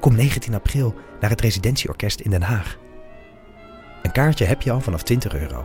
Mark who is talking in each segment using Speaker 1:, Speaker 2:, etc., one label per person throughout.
Speaker 1: Kom 19 april naar het Residentieorkest in Den Haag. Een kaartje heb je al vanaf 20 euro.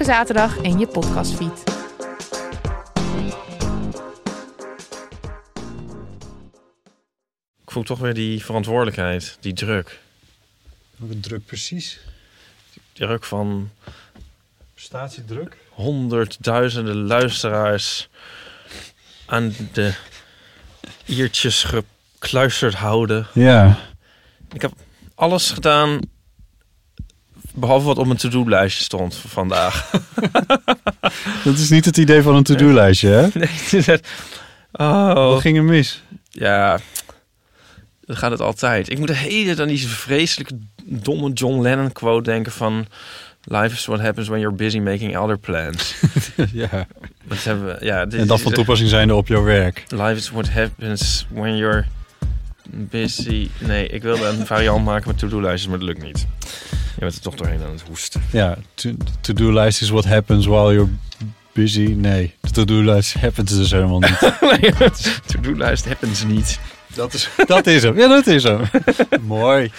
Speaker 2: zaterdag in je podcastfeed.
Speaker 3: Ik voel toch weer die verantwoordelijkheid, die druk.
Speaker 4: Welke druk precies?
Speaker 3: Die druk van
Speaker 4: Prestatiedruk?
Speaker 3: honderdduizenden luisteraars aan de iertjes gekluisterd houden.
Speaker 4: Ja.
Speaker 3: Ik heb alles gedaan, behalve wat op mijn to-do-lijstje stond voor vandaag.
Speaker 4: Dat is niet het idee van een to-do-lijstje, hè?
Speaker 3: Nee, het is echt-
Speaker 4: Wat
Speaker 3: oh,
Speaker 4: ging er mis?
Speaker 3: ja, dan gaat het altijd. Ik moet de hele tijd aan die vreselijke domme John Lennon quote denken van... Life is what happens when you're busy making other plans.
Speaker 4: ja.
Speaker 3: Dat hebben we, ja, dit
Speaker 4: En dat
Speaker 3: is
Speaker 4: van
Speaker 3: echt-
Speaker 4: toepassing zijnde op jouw werk.
Speaker 3: Life is what happens when you're busy. Nee, ik wilde een variant maken met to-do-lijstjes, maar dat lukt niet. Je bent er toch doorheen aan het hoesten.
Speaker 4: Ja, to- to-do-lijst is what happens while you're busy. Nee, de to-do-lijst happens dus helemaal niet.
Speaker 3: Nee, to-do-lijst happens niet.
Speaker 4: dat, is, dat is hem. Ja, dat is hem. Mooi.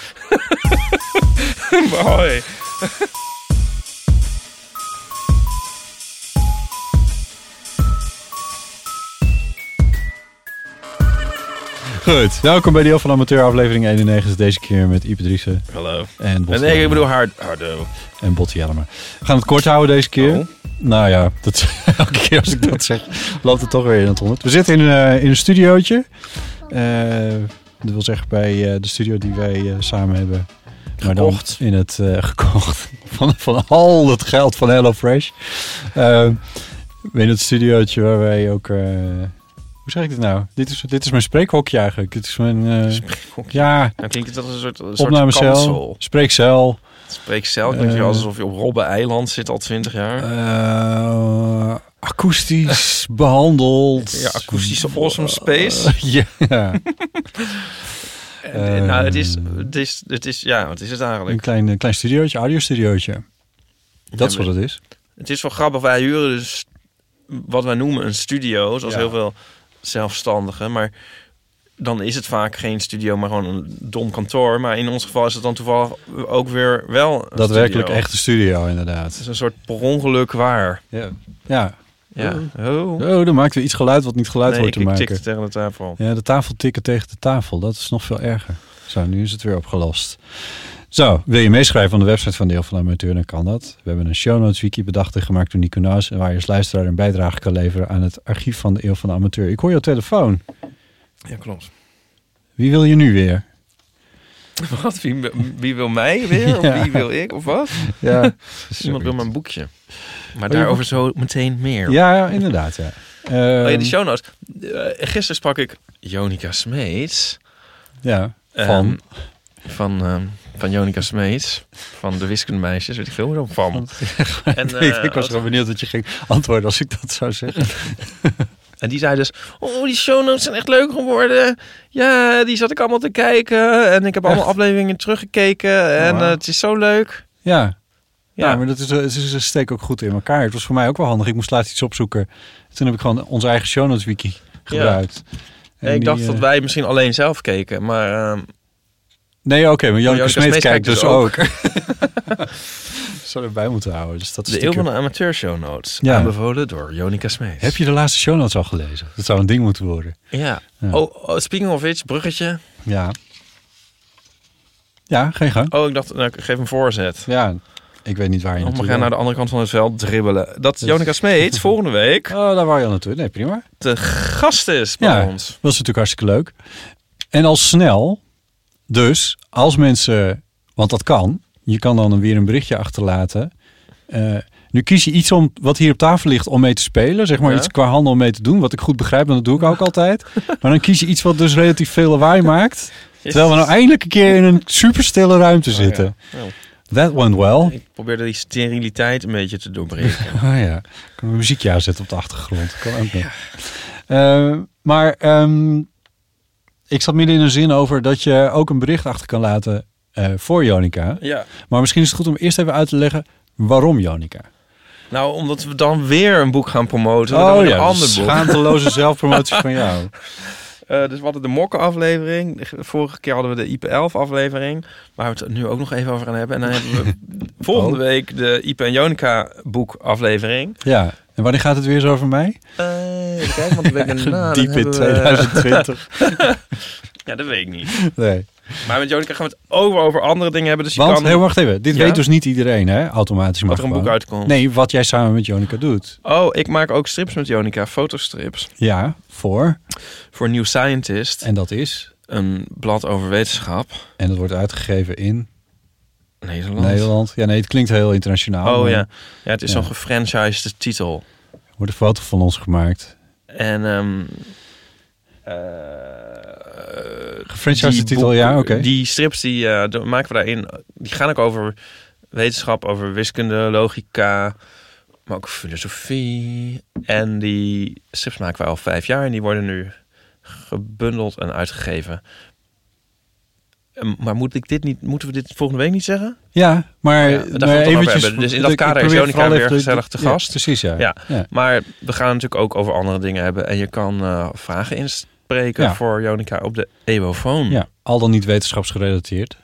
Speaker 3: Mooi.
Speaker 4: Goed, welkom bij Deel van Amateur aflevering 91. Deze keer met Ipe Driessen
Speaker 3: Hallo.
Speaker 4: en Botte
Speaker 3: Nee, ik
Speaker 4: Jellema.
Speaker 3: bedoel hard. Hardo.
Speaker 4: En Botte Jellema. We gaan het kort houden deze keer.
Speaker 3: Oh.
Speaker 4: Nou ja, dat, elke keer als ik dat zeg, loopt het toch weer in het honderd. We zitten in, eh, in een studiootje. Eh, dat wil zeggen bij eh, de studio die wij eh, samen hebben. Maar dan
Speaker 3: Gekocht.
Speaker 4: in het eh, gekocht van, van al het geld van HelloFresh. Eh, in het studiootje waar wij ook... eh, hoe zeg ik dit nou? Dit is, dit is mijn spreekhokje eigenlijk. Dit is mijn... eh,
Speaker 3: Spreekhokje.
Speaker 4: ja,
Speaker 3: Dan klinkt het als een soort, een soort
Speaker 4: opnamecel,
Speaker 3: kansel.
Speaker 4: spreekcel.
Speaker 3: Spreekcel. klinkt
Speaker 4: Eh.
Speaker 3: wel alsof je op Robben Eiland zit al twintig jaar.
Speaker 4: Eh, akoestisch behandeld.
Speaker 3: Ja, akoestische awesome space.
Speaker 4: Ja.
Speaker 3: En- en, nou, het is,
Speaker 4: eh.
Speaker 3: het is, het is, ja, wat is het eigenlijk?
Speaker 4: Een klein, een klein studiootje, audiostudiootje. Dat is
Speaker 3: Ja,
Speaker 4: wat het is.
Speaker 3: Het is wel grappig, wij huren dus wat wij noemen een studio, zoals
Speaker 4: Ja.
Speaker 3: heel veel zelfstandigen, maar dan is het vaak geen studio, maar gewoon een dom kantoor. Maar in ons geval is het dan toevallig ook weer wel een
Speaker 4: Daadwerkelijk
Speaker 3: studio.
Speaker 4: echt een studio,
Speaker 3: Het
Speaker 4: inderdaad.
Speaker 3: is een soort per ongeluk waar.
Speaker 4: Ja. ja.
Speaker 3: Ja. Oh.
Speaker 4: Oh, dan maakten we iets geluid wat niet geluid
Speaker 3: nee,
Speaker 4: wordt
Speaker 3: ik,
Speaker 4: te
Speaker 3: ik
Speaker 4: maken.
Speaker 3: tikte tegen de tafel.
Speaker 4: Ja, de tafel tikken tegen de tafel. Dat is nog veel erger. Zo, nu is het weer opgelost. Zo, wil je meeschrijven aan de website van Deel van de Amateur, dan kan dat. We hebben een show notes wiki bedacht en gemaakt door Nico Naus... en waar je als luisteraar een bijdrage kan leveren aan het archief van de Eeuw van de Amateur. Ik hoor jouw telefoon.
Speaker 3: Ja, klopt.
Speaker 4: Wie wil je nu weer?
Speaker 3: Wat? Wie, wie wil mij weer? Of
Speaker 4: Ja.
Speaker 3: wie wil ik? Of wat?
Speaker 4: Ja, Oh,
Speaker 3: Iemand wil mijn boekje. Maar
Speaker 4: je
Speaker 3: daarover zo meteen meer.
Speaker 4: Ja, ja, inderdaad, ja. Ehm,
Speaker 3: Oh ja, die show notes. Eh, gisteren sprak ik Jonica Smeets.
Speaker 4: ja, van...
Speaker 3: Ehm, van, ehm, van Jonica Smeets. Van de wiskundemeisjes. Weet ik veel meer dan van. En, eh,
Speaker 4: ik, ik was gewoon benieuwd dat je ging antwoorden als ik dat zou zeggen.
Speaker 3: en die zei dus... Oh, die show notes zijn echt leuk geworden. Ja, die zat ik allemaal te kijken. En ik heb allemaal afleveringen teruggekeken. En
Speaker 4: wauw. Nou,
Speaker 3: eh, het is zo leuk.
Speaker 4: Ja,
Speaker 3: Ja,
Speaker 4: Ja, maar dat is, eh, het is een steek ook goed in elkaar. Het was voor mij ook wel handig. Ik moest laatst iets opzoeken. Toen heb ik gewoon onze eigen show notes wiki gebruikt. En
Speaker 3: ik
Speaker 4: die,
Speaker 3: dacht
Speaker 4: eh,
Speaker 3: dat wij misschien alleen zelf keken. Maar ehm,
Speaker 4: Nee, oké, maar Janneke
Speaker 3: Janneke
Speaker 4: Smeet,
Speaker 3: Smeet
Speaker 4: kijkt
Speaker 3: kijkt
Speaker 4: dus
Speaker 3: dus
Speaker 4: ook. Zou erbij moeten houden. Dus dat is
Speaker 3: de eeuw van de amateur show notes.
Speaker 4: Ja.
Speaker 3: Aanbevolen door Jonica Smeets.
Speaker 4: Heb je de laatste show notes al gelezen? Dat zou een ding moeten worden.
Speaker 3: Ja.
Speaker 4: Ja.
Speaker 3: Oh, oh, speaking of which, bruggetje.
Speaker 4: Ja. Ja, geen gang.
Speaker 3: Oh, ik dacht, nou, ik geef een voorzet.
Speaker 4: Ja, ik weet niet waar je Dus-
Speaker 3: Oh, we
Speaker 4: naartoe
Speaker 3: gaan naar
Speaker 4: wil.
Speaker 3: de andere kant van het veld dribbelen. Dat Jonica Smeets volgende week
Speaker 4: Oh, daar waar je al naartoe. Nee, prima.
Speaker 3: de gast is bij
Speaker 4: Ja.
Speaker 3: ons.
Speaker 4: Dat is natuurlijk hartstikke leuk. En al snel, dus als mensen, want dat kan, je kan dan weer een berichtje achterlaten. Eh, nu kies je iets om, wat hier op tafel ligt om mee te spelen, zeg maar
Speaker 3: Ja.
Speaker 4: iets qua handel om mee te doen, wat ik goed begrijp, want dat doe ik ook altijd. Maar dan kies je iets wat dus relatief veel lawaai maakt, terwijl we nou eindelijk een keer in een superstille ruimte
Speaker 3: Oh, ja.
Speaker 4: zitten.
Speaker 3: Nou,
Speaker 4: That went well.
Speaker 3: ik probeerde die steriliteit een beetje te doorbreken.
Speaker 4: Ah ja, ik kan een muziekje aanzetten op de achtergrond. Kan ook nog. Eh, maar ehm, ik zat midden in een zin over dat je ook een bericht achter kan laten eh, voor Jonica.
Speaker 3: ja.
Speaker 4: Maar misschien is het goed om eerst even uit te leggen waarom Jonica.
Speaker 3: Nou, omdat we dan weer een boek gaan promoten.
Speaker 4: Oh
Speaker 3: dan weer een
Speaker 4: de
Speaker 3: ander boek.
Speaker 4: schaamteloze zelfpromotie van jou.
Speaker 3: Eh, dus we hadden de mokkenaflevering. Vorige keer hadden we de IP11-aflevering. Waar we het nu ook nog even over gaan hebben. En dan hebben we volgende
Speaker 4: Oh.
Speaker 3: week de IP en Jonica boekaflevering.
Speaker 4: Ja, en wanneer gaat het weer eens over mij?
Speaker 3: Eh kijk, want de week daarna...
Speaker 4: Diep
Speaker 3: dan
Speaker 4: in
Speaker 3: hebben we-
Speaker 4: 2020.
Speaker 3: Ja, dat weet ik niet.
Speaker 4: Nee.
Speaker 3: Maar met Jonica gaan we het over, over andere dingen hebben. Dus je
Speaker 4: Want,
Speaker 3: kan...
Speaker 4: heel wacht even, dit
Speaker 3: Ja?
Speaker 4: weet dus niet iedereen hè, automatisch. Maar
Speaker 3: Wat er een boek
Speaker 4: gewoon.
Speaker 3: uitkomt.
Speaker 4: Nee, wat jij samen met Jonica doet.
Speaker 3: Oh, ik maak ook strips met Jonica. Fotostrips.
Speaker 4: Ja, voor.
Speaker 3: Voor New Scientist.
Speaker 4: En dat is...
Speaker 3: Een blad over wetenschap.
Speaker 4: En dat wordt uitgegeven in
Speaker 3: Nederland.
Speaker 4: Nederland. Ja, nee, het klinkt heel internationaal.
Speaker 3: Oh
Speaker 4: maar
Speaker 3: ja. ja, het is
Speaker 4: Ja.
Speaker 3: zo'n gefranchised titel.
Speaker 4: Er wordt een foto van ons gemaakt.
Speaker 3: En ehm
Speaker 4: Gefranchised
Speaker 3: eh, die
Speaker 4: titel,
Speaker 3: boeken-
Speaker 4: ja, oké.
Speaker 3: Die strips die eh, de- maken we daarin, die gaan ook over wetenschap, over wiskunde, logica, maar ook filosofie. En die strips maken we al vijf jaar en die worden nu gebundeld en uitgegeven. En- Maar moet ik dit niet, moeten we dit volgende week niet zeggen?
Speaker 4: Ja, maar,
Speaker 3: Oh Ja, daar gaan we het
Speaker 4: maar
Speaker 3: dan over
Speaker 4: eventjes...
Speaker 3: hebben. Dus in
Speaker 4: ik-
Speaker 3: dat
Speaker 4: ik
Speaker 3: kader is
Speaker 4: probeer
Speaker 3: Jonica
Speaker 4: vooral
Speaker 3: weer
Speaker 4: even
Speaker 3: gezellig te
Speaker 4: ja,
Speaker 3: gast.
Speaker 4: precies, ja.
Speaker 3: Ja.
Speaker 4: ja.
Speaker 3: Maar we gaan natuurlijk ook over andere dingen hebben. En je kan eh, vragen inspreken
Speaker 4: Ja.
Speaker 3: voor Jonica op de Ewofoon.
Speaker 4: Ja, al dan niet wetenschapsgerelateerd.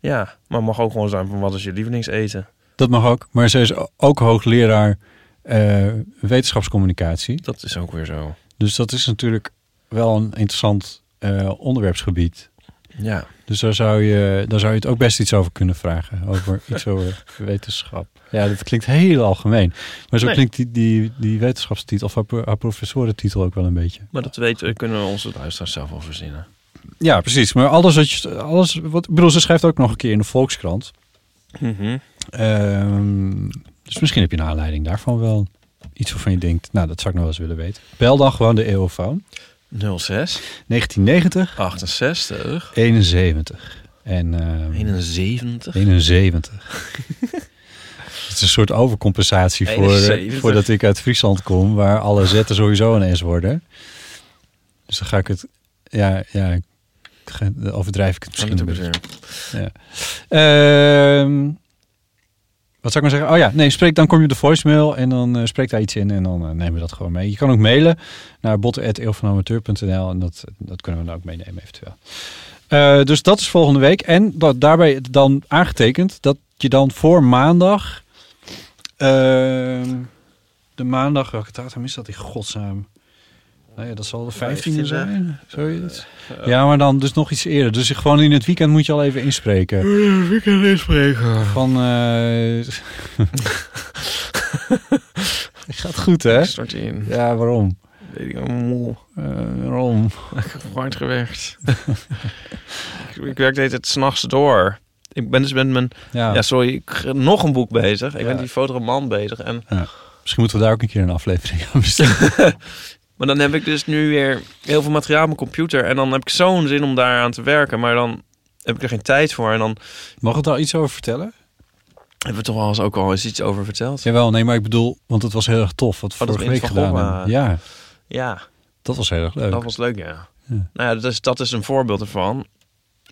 Speaker 3: Ja, maar mag ook gewoon zijn van wat is je lievelingseten?
Speaker 4: Dat mag ook. Maar ze is ook hoogleraar eh, wetenschapscommunicatie.
Speaker 3: Dat is ook weer zo.
Speaker 4: Dus dat is natuurlijk wel een interessant eh, onderwerpsgebied.
Speaker 3: Ja.
Speaker 4: Dus daar zou, je, daar zou je het ook best iets over kunnen vragen. Over iets over wetenschap. Ja, dat klinkt heel algemeen. Maar zo
Speaker 3: Nee.
Speaker 4: klinkt die, die, die wetenschapstitel of haar, pro- haar professorentitel ook wel een beetje.
Speaker 3: Maar dat weten, kunnen we onze luisteraars zelf wel verzinnen.
Speaker 4: Ja, precies. Maar alles wat je... Alles wat, ik bedoel, ze schrijft ook nog een keer in de Volkskrant.
Speaker 3: Mhm.
Speaker 4: Ehm, dus misschien heb je een aanleiding daarvan wel. Iets waarvan je denkt, nou, dat zou ik nog wel eens willen weten. Bel dan gewoon de eeuwfoon.
Speaker 3: 06,
Speaker 4: 1990,
Speaker 3: 68,
Speaker 4: 71. En... ehm,
Speaker 3: 71.
Speaker 4: 71. Het is een soort overcompensatie voor, eh,
Speaker 3: 71.
Speaker 4: voordat ik uit Friesland kom, waar alle zetten sowieso een S worden. Dus dan ga ik het, ja, ja, ik ga- dan overdrijf ik het misschien een beetje. Ehm, wat zou ik maar zeggen? Oh ja, nee, spreek, dan kom je op de voicemail en dan eh spreek daar iets in en dan eh, nemen we dat gewoon mee. Je kan ook mailen naar botten.eeuwvanamateur.nl en dat, dat kunnen we dan ook meenemen eventueel. Eh, dus dat is volgende week. En dat, daarbij dan aangetekend dat je dan voor maandag. ehm, de maandag, welke datum is dat in godsnaam? Nou ja, dat zal de 15e
Speaker 3: 15e.
Speaker 4: zijn, zoiets. Ja, maar dan dus nog iets eerder. Dus gewoon in het weekend moet je al even inspreken.
Speaker 3: Ik kan inspreken.
Speaker 4: Van. eh Gaat goed, hè?
Speaker 3: Ik stort in.
Speaker 4: Ja, waarom?
Speaker 3: Weet ik al moe.
Speaker 4: Eh, waarom?
Speaker 3: Ik heb hard gewerkt. ik, ik werk de hele tijd s'nachts door. Ik ben dus met mijn...
Speaker 4: Ja,
Speaker 3: Ja, sorry. Ik, nog een boek bezig. Ik
Speaker 4: Ja.
Speaker 3: ben die fotoroman bezig. En
Speaker 4: misschien moeten we daar ook een keer een aflevering aan besteden.
Speaker 3: Maar dan heb ik dus nu weer heel veel materiaal op mijn computer. En dan heb ik zo'n zin om daaraan te werken. Maar dan heb ik er geen tijd voor. En dan
Speaker 4: Mag ik daar iets over vertellen?
Speaker 3: hebben we toch wel eens ook al eens iets over verteld. Ja.
Speaker 4: Jawel, nee, maar ik bedoel, want het was heel erg tof wat we
Speaker 3: Oh, dat
Speaker 4: vorige week
Speaker 3: we in Van
Speaker 4: gedaan
Speaker 3: Gogh,
Speaker 4: hebben. Ja,
Speaker 3: Ja,
Speaker 4: eh, dat was heel erg leuk.
Speaker 3: dat was leuk, ja.
Speaker 4: Ja.
Speaker 3: Nou ja, dat is, dat is een voorbeeld ervan.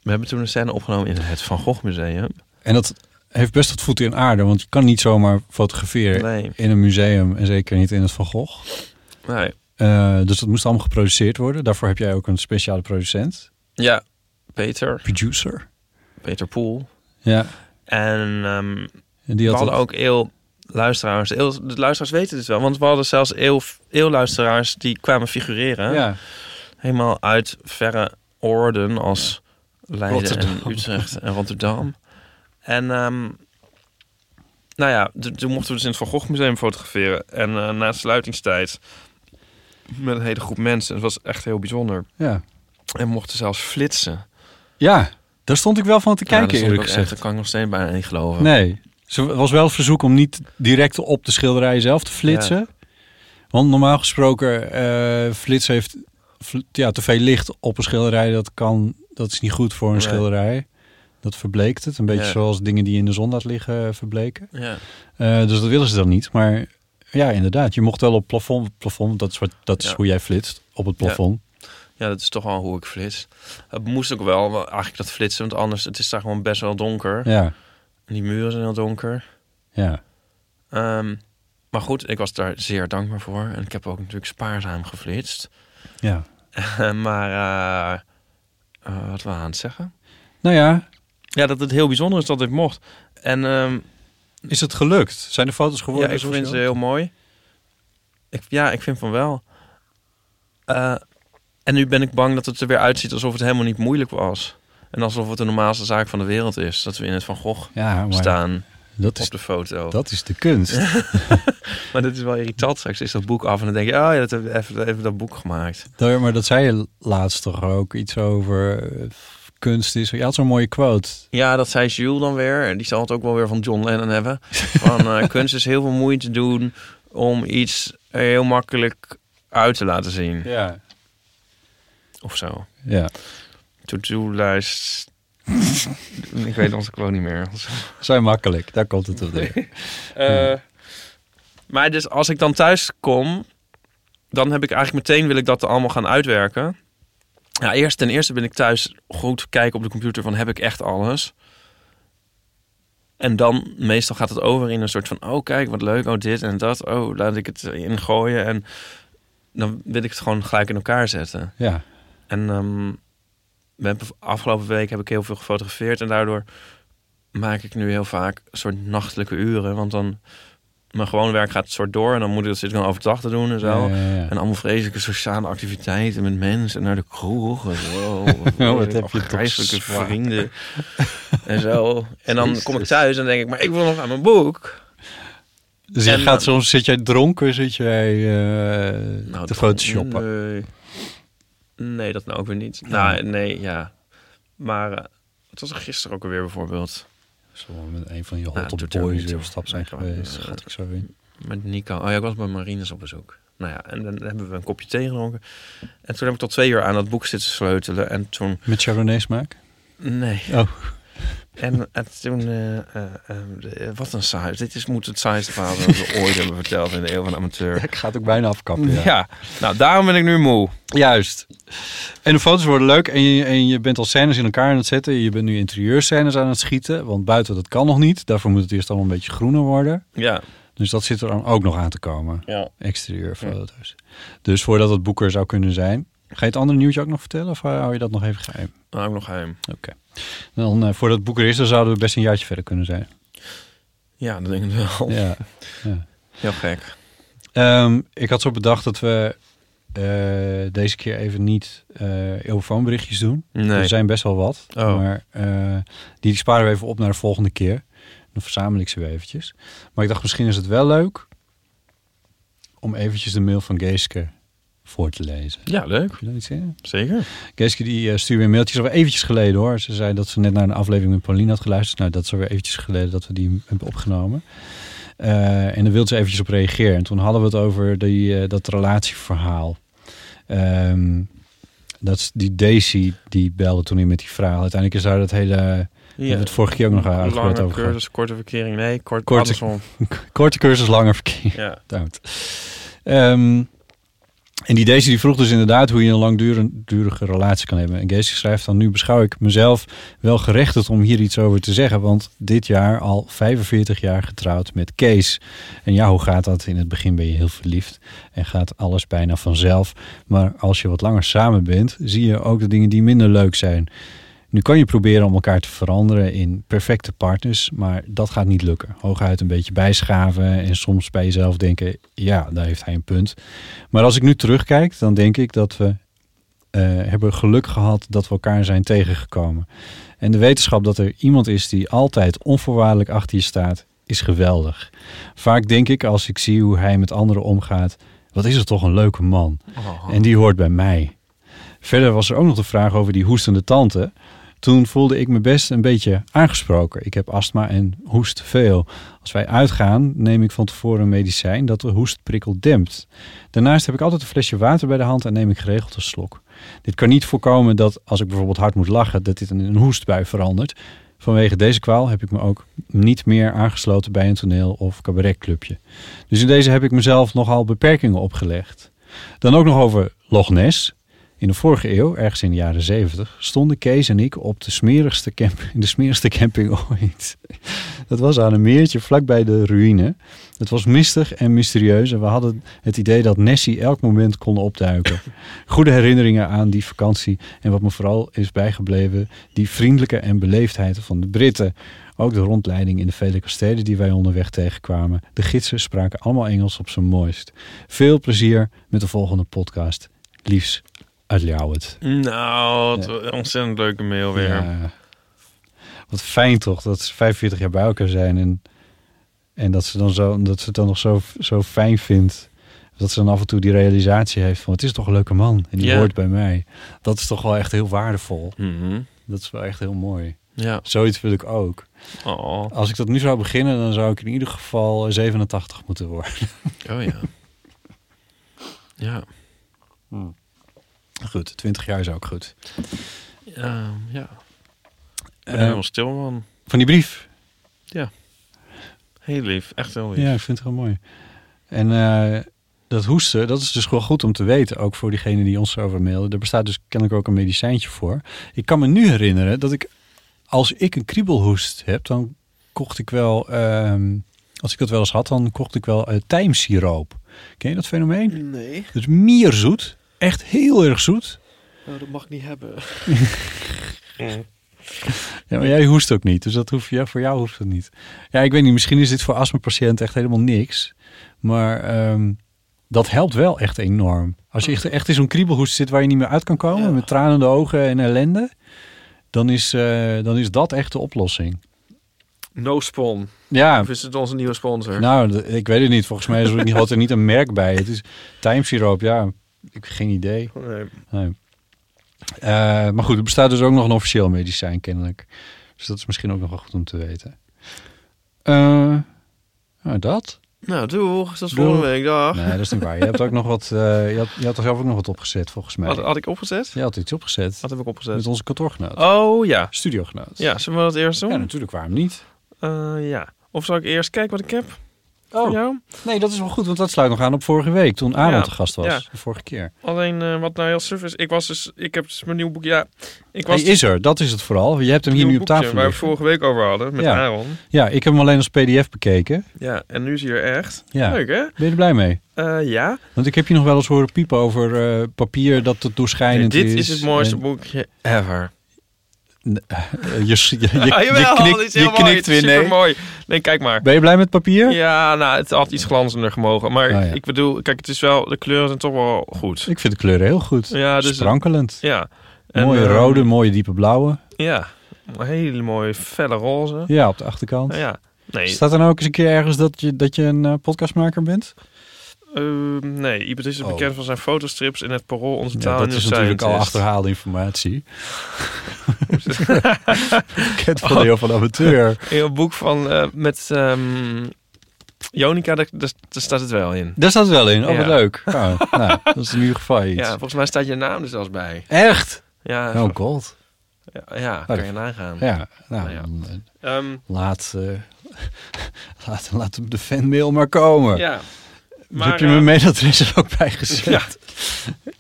Speaker 3: We hebben toen een scène opgenomen in het Van Gogh Museum.
Speaker 4: En dat heeft best wat voeten in aarde, want je kan niet zomaar fotograferen
Speaker 3: Nee,
Speaker 4: in een museum en zeker niet in het Van Gogh.
Speaker 3: nee.
Speaker 4: Eh, dus dat moest allemaal geproduceerd worden. Daarvoor heb jij ook een speciale producent,
Speaker 3: Ja, Peter.
Speaker 4: producer.
Speaker 3: Peter Poel.
Speaker 4: Ja,
Speaker 3: En ehm,
Speaker 4: en die
Speaker 3: we
Speaker 4: had
Speaker 3: hadden
Speaker 4: dat-
Speaker 3: ook eeuw luisteraars. Eeuw, de luisteraars weten dit wel. Want we hadden zelfs eeuw, eeuw luisteraars die kwamen figureren.
Speaker 4: Ja.
Speaker 3: helemaal uit verre oorden als Leiden
Speaker 4: Rotterdam.
Speaker 3: en Utrecht en Rotterdam. En ehm, nou ja, d- toen mochten we dus in het Van Gogh Museum fotograferen. En eh, na sluitingstijd met een hele groep mensen. Het was echt heel bijzonder.
Speaker 4: Ja.
Speaker 3: En we mochten zelfs flitsen.
Speaker 4: ja, daar stond ik wel van te
Speaker 3: Ja, dat
Speaker 4: kijken
Speaker 3: stond
Speaker 4: eerlijk
Speaker 3: ook echt-
Speaker 4: gezegd.
Speaker 3: Dat kan ik nog steeds bijna niet geloven.
Speaker 4: Nee, er was wel het verzoek om niet direct op de schilderijen zelf te flitsen. Want normaal gesproken, eh flits heeft fl- ja, te veel licht op een schilderij. Dat, kan, dat is niet goed voor een
Speaker 3: Nee.
Speaker 4: schilderij. Dat verbleekt het. Een beetje
Speaker 3: Ja.
Speaker 4: zoals dingen die in de zon laat liggen eh, verbleken.
Speaker 3: Ja.
Speaker 4: Eh, dus dat willen ze dan niet. Maar ja, inderdaad. Je mocht wel op plafond. plafond dat is, wat, dat is
Speaker 3: Ja.
Speaker 4: hoe jij flitst. Op het
Speaker 3: Ja.
Speaker 4: plafond.
Speaker 3: ja, dat is toch wel hoe ik flits. Het moest ook wel, wel eigenlijk dat flitsen. Want anders, het is daar gewoon best wel donker.
Speaker 4: Ja. ja.
Speaker 3: En die muren zijn heel donker. Ehm, maar goed, ik was daar zeer dankbaar voor. En ik heb ook natuurlijk spaarzaam geflitst.
Speaker 4: Ja.
Speaker 3: maar eh, eh, wat waren we aan het zeggen?
Speaker 4: Nou ja,
Speaker 3: Ja, dat het heel bijzonder is dat dit mocht. En ehm,
Speaker 4: is het gelukt? Zijn er foto's
Speaker 3: ja,
Speaker 4: geworden?
Speaker 3: ik
Speaker 4: zoals
Speaker 3: vind
Speaker 4: je
Speaker 3: ze
Speaker 4: wilt?
Speaker 3: heel mooi. Ik, ja, ik vind van wel. Eh, en nu ben ik bang dat het er weer uitziet alsof het helemaal niet moeilijk was. En alsof het de normaalste zaak van de wereld is. Dat we in het Van Gogh
Speaker 4: Ja, maar
Speaker 3: staan
Speaker 4: dat is,
Speaker 3: op de foto.
Speaker 4: dat is de kunst.
Speaker 3: Maar dat is wel irritant. Straks is dat boek af en dan denk je... Oh ja, dat hebben we even, even dat boek gemaakt.
Speaker 4: Nou ja, maar dat zei je laatst toch ook iets over eh, kunst is. Je had zo'n mooie quote.
Speaker 3: Ja, dat zei Jules dan weer. En die zal het ook wel weer van John Lennon hebben. Van eh, kunst is heel veel moeite doen om iets heel makkelijk uit te laten zien.
Speaker 4: Ja.
Speaker 3: Of zo.
Speaker 4: ja.
Speaker 3: To-do-lijst. ik weet onze quote niet meer.
Speaker 4: Zijn makkelijk, daar komt het op neer.
Speaker 3: Eh, Maar dus als ik dan thuis kom, dan heb ik eigenlijk meteen wil ik dat allemaal gaan uitwerken. Ja, eerst, ten eerste ben ik thuis goed kijken op de computer van heb ik echt alles. En dan meestal gaat het over in een soort van oh kijk wat leuk, oh dit en dat, oh laat ik het ingooien en dan wil ik het gewoon gelijk in elkaar zetten.
Speaker 4: Ja.
Speaker 3: En ehm, we hebben- afgelopen week heb ik heel veel gefotografeerd. En daardoor maak ik nu heel vaak een soort nachtelijke uren. Want dan mijn gewoon werk gaat soort door. En dan moet ik dat zit ik dan overdag te doen en zo.
Speaker 4: Ja, ja, ja.
Speaker 3: En allemaal vreselijke sociale activiteiten met mensen naar de kroeg. En zo.
Speaker 4: Oh, wat heb je toch
Speaker 3: Afgrijzelijke
Speaker 4: zwaar.
Speaker 3: vrienden. en zo. En dan kom ik
Speaker 4: Jezus.
Speaker 3: thuis en denk ik, maar ik wil nog aan mijn boek.
Speaker 4: Dus je
Speaker 3: en-
Speaker 4: gaat soms, zit jij dronken, zit jij eh, te
Speaker 3: Nou, dan-
Speaker 4: photoshoppen?
Speaker 3: Nee. Nee, dat nou ook weer niet. Nou, nee, ja. Maar eh, het was er gisteren ook alweer bijvoorbeeld.
Speaker 4: Zullen we met een van je
Speaker 3: eh. Nou,
Speaker 4: hotte
Speaker 3: doet er ook
Speaker 4: boys
Speaker 3: niet
Speaker 4: weer
Speaker 3: toe.
Speaker 4: op stap zijn
Speaker 3: Nee,
Speaker 4: geweest?
Speaker 3: gewoon, eh,
Speaker 4: Schat ik zo in.
Speaker 3: Met Nico. Oh ja, ik was bij Marines op bezoek. Nou ja, en dan hebben we een kopje thee gedronken. En toen heb ik tot twee uur aan dat boek zitten sleutelen. En toen...
Speaker 4: Met Chardonnay smaak?
Speaker 3: Nee.
Speaker 4: Oh.
Speaker 3: En, en toen... eh, eh, eh, de- wat een saai. Dit is, moet het saaiste verhaal zijn dat we ooit hebben verteld in de Eeuw van de Amateur.
Speaker 4: Ik ga het ook bijna afkappen.
Speaker 3: Ja. Nou, daarom ben ik nu moe.
Speaker 4: Juist. En de foto's worden leuk en je, en je bent al scènes in elkaar aan het zetten. Je bent nu interieurscènes aan het schieten, want buiten dat kan nog niet. Daarvoor moet het eerst allemaal een beetje groener worden.
Speaker 3: Ja.
Speaker 4: Dus dat zit er dan ook nog aan te komen.
Speaker 3: Ja.
Speaker 4: Exterieurfoto's. Dus voordat het boek er zou kunnen zijn. Ga je het andere nieuwtje ook nog vertellen of eh, hou je dat nog even geheim?
Speaker 3: Nou, ook nog heim.
Speaker 4: Dan, eh, voordat het boek er is, dan zouden we best een jaartje verder kunnen zijn.
Speaker 3: Ja, dat denk ik wel.
Speaker 4: Ja.
Speaker 3: Heel gek.
Speaker 4: Ehm, ik had zo bedacht dat we eh, deze keer even niet eh eeuwfoonberichtjes doen.
Speaker 3: Nee.
Speaker 4: Er zijn best wel wat.
Speaker 3: Oh.
Speaker 4: Maar eh, die, die sparen we even op naar de volgende keer. Dan verzamel ik ze weer eventjes. Maar ik dacht, misschien is het wel leuk om eventjes de mail van Geeske voor te lezen.
Speaker 3: Ja, leuk.
Speaker 4: Heb je daar iets in?
Speaker 3: Zeker.
Speaker 4: Geeske die eh, stuurde weer mailtjes al eventjes geleden hoor. Ze zei dat ze net naar een aflevering met Pauline had geluisterd. Nou, dat is alweer eventjes geleden dat we die hebben opgenomen. Eh, en daar wilde ze eventjes op reageren. En toen hadden we het over die, eh, dat relatieverhaal. Ehm, dat is die Daisy die belde toen in met die verhaal. Uiteindelijk is daar dat hele... We hebben het vorige keer ook nog eh, uitgebreid
Speaker 3: Lange
Speaker 4: over gehad.
Speaker 3: cursus, korte verkering. Nee, kort,
Speaker 4: Korte-
Speaker 3: andersom.
Speaker 4: Korte cursus, langer verkeer.
Speaker 3: Ja.
Speaker 4: Duimt. Ehm, en die deze die vroeg dus inderdaad hoe je een langdurige relatie kan hebben. En Geesje schrijft dan, nu beschouw ik mezelf wel gerechtigd om hier iets over te zeggen. Want dit jaar al 45 jaar getrouwd met Kees. En ja, hoe gaat dat? In het begin ben je heel verliefd en gaat alles bijna vanzelf. Maar als je wat langer samen bent, zie je ook de dingen die minder leuk zijn. Nu kan je proberen om elkaar te veranderen in perfecte partners, maar dat gaat niet lukken. Hooguit een beetje bijschaven en soms bij jezelf denken, ja, daar heeft hij een punt. Maar als ik nu terugkijk, dan denk ik dat we eh, eh, hebben geluk gehad dat we elkaar zijn tegengekomen. En de wetenschap dat er iemand is die altijd onvoorwaardelijk achter je staat, is geweldig. Vaak denk ik als ik zie hoe hij met anderen omgaat, wat is het toch een leuke man. En die hoort bij mij. Verder was er ook nog de vraag over die hoestende tante. Toen voelde ik me best een beetje aangesproken. Ik heb astma en hoest veel. Als wij uitgaan, neem ik van tevoren een medicijn dat de hoestprikkel dempt. Daarnaast heb ik altijd een flesje water bij de hand en neem ik geregeld een slok. Dit kan niet voorkomen dat als ik bijvoorbeeld hard moet lachen, dat dit in een hoestbui verandert. Vanwege deze kwaal heb ik me ook niet meer aangesloten bij een toneel- of cabaretclubje. Dus in deze heb ik mezelf nogal beperkingen opgelegd. Dan ook nog over Loch Ness. In de vorige eeuw, ergens in de jaren 70, stonden Kees en ik op de smerigste, camp in de smerigste camping ooit. Dat was aan een meertje vlakbij de ruïne. Het was mistig en mysterieus en we hadden het idee dat Nessie elk moment kon opduiken. Goede herinneringen aan die vakantie en wat me vooral is bijgebleven, die vriendelijke en beleefdheid van de Britten. Ook de rondleiding in de vele kastelen die wij onderweg tegenkwamen. De gidsen spraken allemaal Engels op zijn mooist. Veel plezier met de volgende podcast. Liefs uit Ljouwert.
Speaker 3: Nou, wat een ontzettend leuke mail weer.
Speaker 4: Ja. Wat fijn toch, dat ze 45 jaar bij elkaar zijn. En, en dat, ze dan zo, dat ze het dan nog zo, zo fijn vindt. Dat ze dan af en toe die realisatie heeft van... het is toch een leuke man en die
Speaker 3: Ja.
Speaker 4: hoort bij mij. Dat is toch wel echt heel waardevol.
Speaker 3: Mhm.
Speaker 4: Dat is wel echt heel mooi.
Speaker 3: Ja.
Speaker 4: Zoiets wil ik ook.
Speaker 3: Oh.
Speaker 4: Als ik dat nu zou beginnen, dan zou ik in ieder geval 87 moeten worden.
Speaker 3: oh ja. ja.
Speaker 4: Goed, 20 jaar is ook goed.
Speaker 3: Ja. ehm, Ja. Ik ben
Speaker 4: Eh,
Speaker 3: helemaal stil, man.
Speaker 4: van die brief
Speaker 3: Heel lief. Echt heel lief.
Speaker 4: Ja, ik vind het wel mooi. En eh, dat hoesten, dat is dus wel goed om te weten, ook voor diegenen die ons over mailden. Er bestaat dus kennelijk ook een medicijntje voor. Ik kan me nu herinneren dat ik, als ik een kriebelhoest heb, dan kocht ik wel, ehm, als ik dat wel eens had, dan kocht ik wel eh tijmsiroop. Ken je dat fenomeen?
Speaker 3: Nee,
Speaker 4: Dat is mierzoet, echt heel erg zoet.
Speaker 3: Oh, dat mag ik niet hebben.
Speaker 4: Ja, maar jij hoest ook niet, dus dat hoef je, voor jou hoeft het niet. Ja, ik weet niet, misschien is dit voor astmapatiënten echt helemaal niks. Maar ehm, dat helpt wel echt enorm. Als je echt, echt in zo'n kriebelhoest zit waar je niet meer uit kan komen...
Speaker 3: Ja.
Speaker 4: met tranende ogen en ellende... Dan is, eh, dan is dat echt de oplossing.
Speaker 3: No Spawn.
Speaker 4: Ja,
Speaker 3: Of is het onze nieuwe sponsor?
Speaker 4: nou, d- ik weet het niet. Volgens mij is er, niet- had er niet een merk bij. Het is tijmsiroop, ja. Ik heb geen idee.
Speaker 3: Nee.
Speaker 4: Nee. Eh, maar goed, er bestaat dus ook nog een officieel medicijn kennelijk. Dus dat is misschien ook nog wel goed om te weten. Eh, nou, dat?
Speaker 3: Nou, doeg. Tot
Speaker 4: Doeg.
Speaker 3: volgende week. Dag.
Speaker 4: Nee, dat is niet waar. Je hebt ook nog wat. eh, je, had, je had er zelf ook nog wat opgezet, volgens mij.
Speaker 3: Had, had ik opgezet?
Speaker 4: Je had iets opgezet
Speaker 3: oh. Wat heb ik opgezet?
Speaker 4: met onze kantoorgenoot,
Speaker 3: Oh ja.
Speaker 4: studiogenoot.
Speaker 3: Ja, zullen we dat eerst doen?
Speaker 4: Ja, natuurlijk. Waarom niet?
Speaker 3: Eh, ja. Of zal ik eerst kijken wat ik heb voor jou?
Speaker 4: nee, dat is wel goed, want dat sluit nog aan op vorige week toen Aaron
Speaker 3: Oh. Ja,
Speaker 4: te gast was.
Speaker 3: ja.
Speaker 4: De vorige keer.
Speaker 3: Alleen eh, wat nou heel suf is, ik was dus, ik heb dus mijn nieuw boek, ja, ik was
Speaker 4: Hij is er, dat is het vooral. Je hebt hem
Speaker 3: het nieuwe
Speaker 4: hier nu op
Speaker 3: boekje
Speaker 4: tafel.
Speaker 3: waar we
Speaker 4: liggen.
Speaker 3: vorige week over hadden met
Speaker 4: Ja.
Speaker 3: Aaron.
Speaker 4: Ja, ik heb hem alleen als PDF bekeken.
Speaker 3: Ja, en nu is hij er echt.
Speaker 4: Ja.
Speaker 3: Leuk hè?
Speaker 4: Ben je er blij mee?
Speaker 3: Eh, ja.
Speaker 4: Want ik heb je nog wel eens horen piepen over eh, papier dat het doorschijnend
Speaker 3: dit
Speaker 4: is.
Speaker 3: is, het mooiste
Speaker 4: En,
Speaker 3: boekje ever.
Speaker 4: eh, je s- je, je,
Speaker 3: Ah,
Speaker 4: je
Speaker 3: jawel,
Speaker 4: knikt,
Speaker 3: dit is
Speaker 4: je
Speaker 3: heel mooi.
Speaker 4: knikt weer nee.
Speaker 3: mooi. Nee, kijk maar.
Speaker 4: Ben je blij met papier?
Speaker 3: Ja, nou, het had iets glanzender gemogen. Maar
Speaker 4: Ah, ja.
Speaker 3: ik bedoel, kijk, het is wel, de kleuren zijn toch wel goed.
Speaker 4: Ik vind de kleuren heel goed.
Speaker 3: Ja, dus...
Speaker 4: Sprankelend.
Speaker 3: Ja. En,
Speaker 4: mooie
Speaker 3: eh,
Speaker 4: rode, mooie diepe blauwe.
Speaker 3: Ja. Een hele mooie felle roze.
Speaker 4: Ja, op de achterkant.
Speaker 3: Nou ja. Nee,
Speaker 4: Staat er nou ook eens een keer ergens dat je, dat je een eh, podcastmaker bent?
Speaker 3: Ehm, nee, Ibert is
Speaker 4: Oh.
Speaker 3: bekend van zijn fotostrips in het Parool Onze Taal
Speaker 4: Ja,
Speaker 3: en
Speaker 4: dat
Speaker 3: de
Speaker 4: is natuurlijk al
Speaker 3: Scientist.
Speaker 4: achterhaalde informatie. Bekend van heel van amateur.
Speaker 3: In een boek van eh, met ehm, Jonica, daar, daar- daar staat het wel in.
Speaker 4: Daar staat het wel in. Oh, wat
Speaker 3: Ja.
Speaker 4: leuk. Nou, nou, dat is in ieder geval iets.
Speaker 3: Ja, volgens mij staat je naam er zelfs bij.
Speaker 4: Echt?
Speaker 3: Ja,
Speaker 4: Oh god.
Speaker 3: ja, ja, kan je nagaan.
Speaker 4: Ja, nou,
Speaker 3: Nou ja.
Speaker 4: dan, eh,
Speaker 3: Ehm,
Speaker 4: Laat, eh, laat, laat hem de fanmail maar komen.
Speaker 3: ja.
Speaker 4: Dus
Speaker 3: maar,
Speaker 4: heb je
Speaker 3: eh,
Speaker 4: mijn mailadres er ook bij gezet?
Speaker 3: Ja.
Speaker 4: De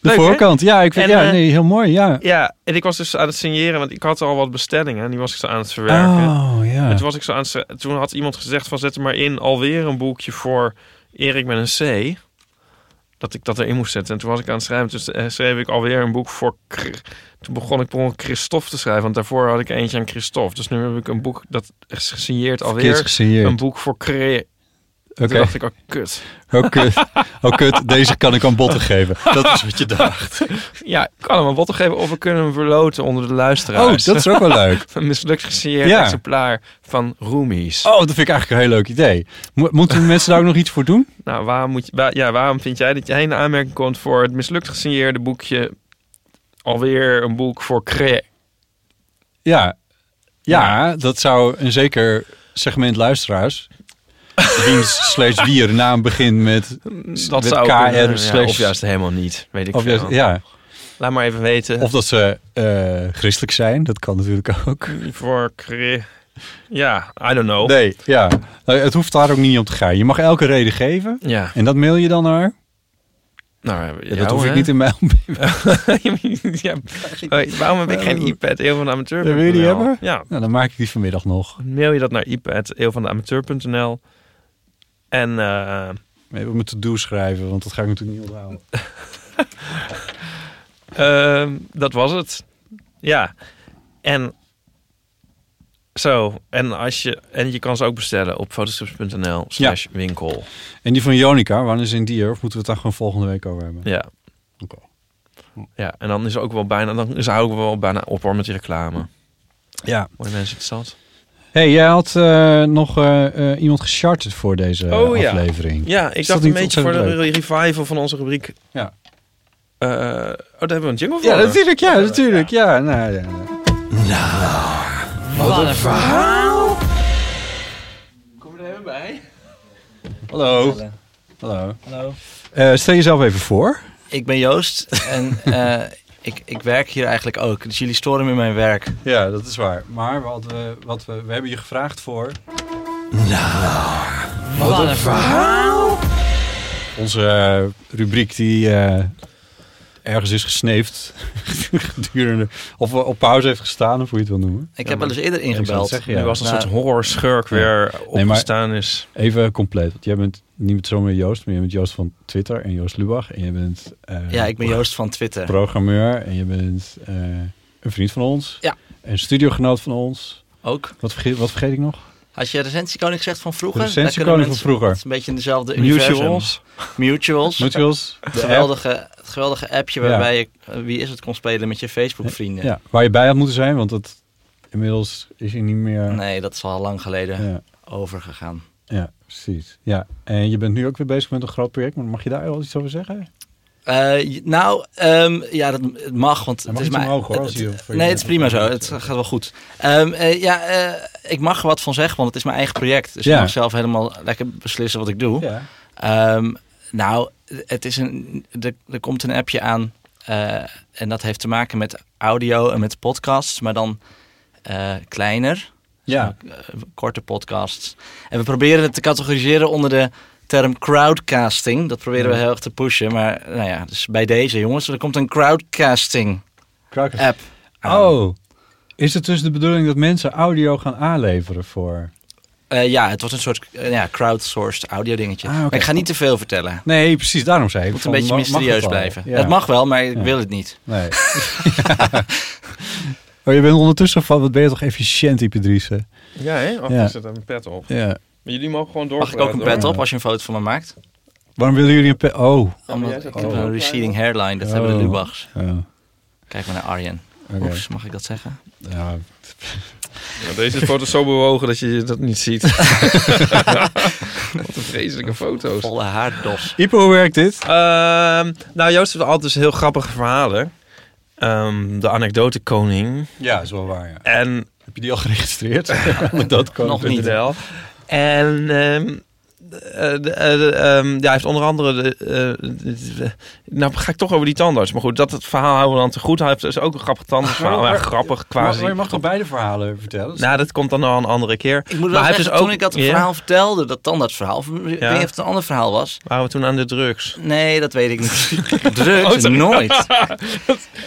Speaker 3: Leuk, hè?
Speaker 4: voorkant, ja, ik vind,
Speaker 3: En,
Speaker 4: ja,
Speaker 3: eh,
Speaker 4: nee, heel mooi, ja.
Speaker 3: ja, en ik was dus aan het signeren, want ik had al wat bestellingen en die was ik zo aan het verwerken.
Speaker 4: Oh, ja.
Speaker 3: En toen, was ik zo aan het, ze- toen had iemand gezegd van zet er maar in alweer een boekje voor Erik met een C. Dat ik dat erin moest zetten. En toen was ik aan het schrijven. Toen eh, schreef ik alweer een boek voor... Kr- Toen begon ik per ongeluk Christophe te schrijven. Want daarvoor had ik eentje aan Christophe. Dus nu heb ik een boek dat is gesigneerd
Speaker 4: Verkeerd
Speaker 3: alweer.
Speaker 4: gesigneerd.
Speaker 3: Een boek voor Cre...
Speaker 4: Oké.
Speaker 3: Toen dacht ik, oh kut.
Speaker 4: Oh, kut. Oh, kut. Deze kan ik aan botten geven. Dat is wat je dacht.
Speaker 3: Ja, ik kan hem een bottle geven of we kunnen hem verloten onder de
Speaker 4: Oh,
Speaker 3: luisteraars.
Speaker 4: dat is ook wel leuk.
Speaker 3: Een mislukt gesieerd
Speaker 4: Ja.
Speaker 3: exemplaar van Roomies.
Speaker 4: Oh, dat vind ik eigenlijk een heel leuk idee. Mo- moeten mensen daar ook nog iets voor doen?
Speaker 3: Nou, waarom, moet je, wa- ja, waarom vind jij dat jij in aanmerking komt voor het mislukt gesigneerde boekje? Alweer een boek voor cre.
Speaker 4: Ja. Ja, dat zou een zeker segment luisteraars... Wiens slash wie er naam begint met...
Speaker 3: Dat
Speaker 4: met
Speaker 3: zou
Speaker 4: KR
Speaker 3: kunnen, ja,
Speaker 4: slash-
Speaker 3: of juist helemaal niet, weet ik
Speaker 4: Of, juist-
Speaker 3: veel.
Speaker 4: ja,
Speaker 3: Laat maar even weten.
Speaker 4: of dat ze eh, christelijk zijn. Dat kan natuurlijk ook.
Speaker 3: voor cre. Ja, I don't know.
Speaker 4: Nee, ja. Nou, Het hoeft daar ook niet om te gaan. Je mag elke reden geven.
Speaker 3: Ja,
Speaker 4: En dat mail je dan naar?
Speaker 3: nou,
Speaker 4: Ja, dat hoef ik niet in mijn...
Speaker 3: ja. Hoi, waarom heb ik geen iPad? Eeuw van de amateur.
Speaker 4: Wil je die hebben?
Speaker 3: Ja.
Speaker 4: Nou, dan maak ik die vanmiddag nog.
Speaker 3: Mail je dat naar iPad, eeuw van de amateur.nl. En eh,
Speaker 4: Even op mijn to-do schrijven, want dat ga ik natuurlijk niet onthouden.
Speaker 3: Ehm, dat was het. Ja. En zo. En, als je, en je kan ze ook bestellen op fotostrips.nl slash winkel.
Speaker 4: En die van Jonica, wanneer is in die er? Of moeten we het daar gewoon volgende week over hebben?
Speaker 3: Ja.
Speaker 4: Oké.
Speaker 3: ja. En dan is er ook wel bijna, dan is houden we wel bijna op hoor met die reclame.
Speaker 4: Ja.
Speaker 3: Mooi mensen het zat.
Speaker 4: hey, jij had eh, nog eh, eh, iemand gecharterd voor deze
Speaker 3: Oh, ja.
Speaker 4: aflevering.
Speaker 3: Ja, ik dacht
Speaker 4: Is dat
Speaker 3: een
Speaker 4: niet
Speaker 3: beetje voor de
Speaker 4: ontzettend
Speaker 3: revival van onze rubriek.
Speaker 4: Ja.
Speaker 3: Eh, oh, daar hebben we een jingle voor.
Speaker 4: Ja, natuurlijk, ja, natuurlijk, ja. Nou, ja, ja.
Speaker 5: Wat een verhaal.
Speaker 3: Kom er even bij.
Speaker 4: Hallo. Hallo. Eh, stel jezelf even voor.
Speaker 6: Ik ben Joost en eh, ik, ik werk hier eigenlijk ook. Dus jullie storen me in mijn werk.
Speaker 4: Ja, dat is waar. Maar wat we, wat we, we hebben je gevraagd voor
Speaker 5: Wat een verhaal.
Speaker 4: onze eh, rubriek die eh, ergens is gesneefd. gedurende, of eh, op pauze heeft gestaan, of hoe je het wil noemen.
Speaker 6: Ik heb wel eens eerder
Speaker 4: zou het
Speaker 6: ingebeld.
Speaker 4: zeggen,
Speaker 3: Nu
Speaker 4: Ja.
Speaker 3: was een
Speaker 6: Nou,
Speaker 3: soort horror schurk weer opgestaan is.
Speaker 4: Even compleet, want jij bent niet zomaar Joost, maar je bent Joost van Twitter en Joost Lubach. En je bent eh,
Speaker 6: Ja, ik ben Joost eh. van Twitter.
Speaker 4: programmeur en je bent eh, een vriend van ons.
Speaker 6: Ja.
Speaker 4: Een studiogenoot van ons.
Speaker 6: Ook.
Speaker 4: Wat vergeet, wat vergeet ik nog?
Speaker 6: Had je recensiekoning gezegd van vroeger?
Speaker 4: Recensiekoning
Speaker 6: Daar kunnen
Speaker 4: van vroeger.
Speaker 6: Het is een beetje in dezelfde universum.
Speaker 4: Mutuals.
Speaker 6: Mutuals.
Speaker 4: Mutuals.
Speaker 6: Het geweldige, het geweldige appje
Speaker 4: Ja.
Speaker 6: waarbij je eh, Wie is het kon spelen met je Facebook vrienden.
Speaker 4: Ja, waar je bij had moeten zijn, want dat inmiddels is hij niet meer...
Speaker 6: Nee, dat is al lang geleden
Speaker 4: Ja,
Speaker 6: overgegaan.
Speaker 4: ja, precies. Ja, en je bent nu ook weer bezig met een groot project, maar mag je daar al iets over zeggen?
Speaker 6: Eh, j- nou, ehm, ja, dat het mag, want
Speaker 4: Hij
Speaker 6: het
Speaker 4: mag
Speaker 6: is
Speaker 4: niet
Speaker 6: maar.
Speaker 4: omhoog, hoor,
Speaker 6: het-
Speaker 4: als hij voor je-
Speaker 6: nee, het is prima zo. Het gaat wel goed. Ehm, eh, ja, eh, ik mag er wat van zeggen, want het is mijn eigen project. Dus
Speaker 4: Ja.
Speaker 6: ik mag zelf helemaal lekker beslissen wat ik doe.
Speaker 4: Ja.
Speaker 6: Ehm, nou, het is een, er, er komt een appje aan. eh, en dat heeft te maken met audio en met podcasts, maar dan eh, kleiner,
Speaker 4: Ja.
Speaker 6: eh, korte podcasts. En we proberen het te categoriseren onder de term crowdcasting. Dat proberen we heel erg te pushen. Maar nou ja, dus bij deze jongens, er komt een crowdcasting
Speaker 4: Krakers.
Speaker 6: app. aan.
Speaker 4: Eh, Oh, is het dus de bedoeling dat mensen audio gaan aanleveren voor...
Speaker 6: Eh, ja, het was een soort eh, ja, crowdsourced audio dingetje.
Speaker 4: Ah, oké.
Speaker 6: Maar ik ga niet te veel vertellen. Het
Speaker 4: Nee, precies, daarom zei ik.
Speaker 6: moet een
Speaker 4: van,
Speaker 6: beetje
Speaker 4: mag- mag het
Speaker 6: mysterieus
Speaker 4: al?
Speaker 6: blijven.
Speaker 4: Ja.
Speaker 6: Het mag wel, maar ik
Speaker 4: Ja.
Speaker 6: wil het niet.
Speaker 4: Nee. oh, je bent ondertussen van, wat ben je toch efficiënt, Ipedrice?
Speaker 3: Ja, hè? Oh,
Speaker 4: Ja.
Speaker 3: ik zet even mijn pet op.
Speaker 4: Ja.
Speaker 3: Maar jullie mogen gewoon door.
Speaker 6: Mag ik ook een pet op als je een foto van me maakt?
Speaker 4: Waarom willen jullie een pe- Oh.
Speaker 6: Omdat
Speaker 3: jij zegt dat
Speaker 6: ik heb
Speaker 3: het
Speaker 6: een
Speaker 3: ook
Speaker 6: receding hairline, dat
Speaker 4: Oh.
Speaker 6: hebben de Lubachs.
Speaker 4: oh,
Speaker 6: Kijk maar naar Arjen.
Speaker 4: oké.
Speaker 6: Oeps, mag ik dat zeggen?
Speaker 4: Ja.
Speaker 3: deze foto is zo bewogen dat je dat niet ziet. Wat een vreselijke foto's.
Speaker 6: Volle haardos.
Speaker 4: Ipe, hoe werkt dit?
Speaker 3: Ehm, nou, Joost heeft altijd dus heel grappige verhalen. Ehm, de anekdotekoning.
Speaker 4: Ja, is wel waar, ja.
Speaker 3: En
Speaker 4: Heb je die al geregistreerd? dat kan
Speaker 6: Nog niet.
Speaker 3: NL. En ehm, eh, de- eh, de, ehm, ja, hij heeft onder andere... De, eh, de- de- nou, ga ik toch over die tandarts. Maar goed, dat het verhaal houden we dan te goed. Hij heeft dus ook een grappig tandartsverhaal.
Speaker 4: Maar-
Speaker 3: Ja, grappig,
Speaker 4: Maar
Speaker 3: quasi.
Speaker 4: je mag toch beide verhalen vertellen?
Speaker 3: Nou, dat komt dan al een andere keer.
Speaker 6: Ik moet
Speaker 3: Maar hij
Speaker 6: wel
Speaker 3: heeft
Speaker 6: zeggen,
Speaker 3: dus ook-
Speaker 6: toen ik dat
Speaker 3: Ja.
Speaker 6: verhaal vertelde, dat tandartsverhaal, of ik weet
Speaker 3: Ja.
Speaker 6: niet of het een ander verhaal was.
Speaker 3: Waren we toen aan de drugs?
Speaker 6: Nee, dat weet ik niet. Drugs,
Speaker 3: Oh, sorry.
Speaker 6: nooit.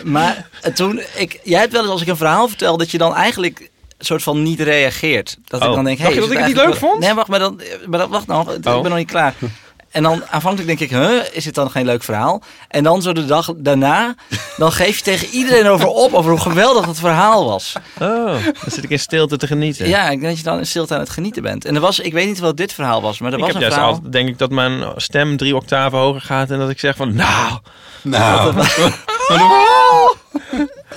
Speaker 6: Maar eh, toen, ik, jij hebt wel eens als ik een verhaal vertel, dat je dan eigenlijk een soort van niet reageert. Dat ik
Speaker 3: Oh.
Speaker 6: dan denk,
Speaker 3: Dacht
Speaker 6: hey,
Speaker 3: je
Speaker 6: is
Speaker 3: dat
Speaker 6: het
Speaker 3: ik het niet
Speaker 6: eigenlijk
Speaker 3: leuk
Speaker 6: wel-
Speaker 3: vond?
Speaker 6: Nee, eh, wacht, maar, dan, maar dat, wacht nog, ik
Speaker 3: Oh.
Speaker 6: ben nog niet klaar. En dan aanvankelijk denk ik, huh, is dit dan geen leuk verhaal? En dan zo de dag daarna, dan geef je tegen iedereen over op, over hoe geweldig dat verhaal was.
Speaker 3: Oh, dan zit ik in stilte te genieten.
Speaker 6: Ja, ik denk dat je dan in stilte aan het genieten bent. En er was, ik weet niet wat dit verhaal was, maar er
Speaker 3: Ik
Speaker 6: was
Speaker 3: heb
Speaker 6: een
Speaker 3: juist
Speaker 6: verhaal.
Speaker 3: altijd, denk ik, dat mijn stem drie octaven hoger gaat en dat ik zeg van, nou,
Speaker 4: Nou,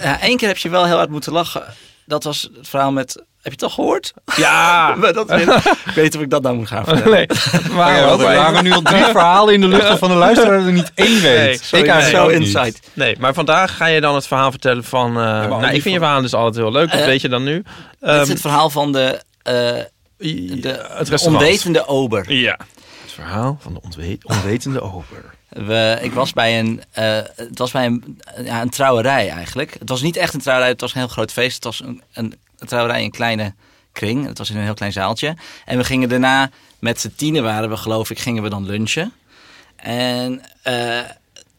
Speaker 6: Ja, één keer heb je wel heel hard moeten lachen. Dat was het verhaal met, heb je het al gehoord?
Speaker 3: ja.
Speaker 6: Maar dat weet, ik weet of ik dat nou moet gaan vertellen.
Speaker 3: Nee, maar
Speaker 4: we waren nu al drie verhalen in de lucht waarvan de luisteraar er niet één weet.
Speaker 3: Nee, sorry,
Speaker 4: ik
Speaker 6: Ja,
Speaker 4: eigenlijk
Speaker 6: zo
Speaker 4: ook niet.
Speaker 6: insight.
Speaker 3: Nee, maar vandaag ga je dan het verhaal vertellen van... eh,
Speaker 4: ook
Speaker 3: nou, ik
Speaker 4: die
Speaker 3: vind je verhaal dus altijd heel leuk, dat
Speaker 6: Eh,
Speaker 3: weet je dan nu.
Speaker 6: Dit
Speaker 3: Ehm,
Speaker 6: is het verhaal van de, eh, de,
Speaker 3: het
Speaker 6: de
Speaker 3: restaurant.
Speaker 6: onwetende ober.
Speaker 3: Ja. Het verhaal van de onwe- onwetende ober.
Speaker 6: We, ik was bij een, eh, het was bij een, ja, een trouwerij eigenlijk. Het was niet echt een trouwerij, het was een heel groot feest. Het was een, een, een trouwerij in een kleine kring. Het was in een heel klein zaaltje. En we gingen daarna, met z'n tienen waren we geloof ik, gingen we dan lunchen. En eh,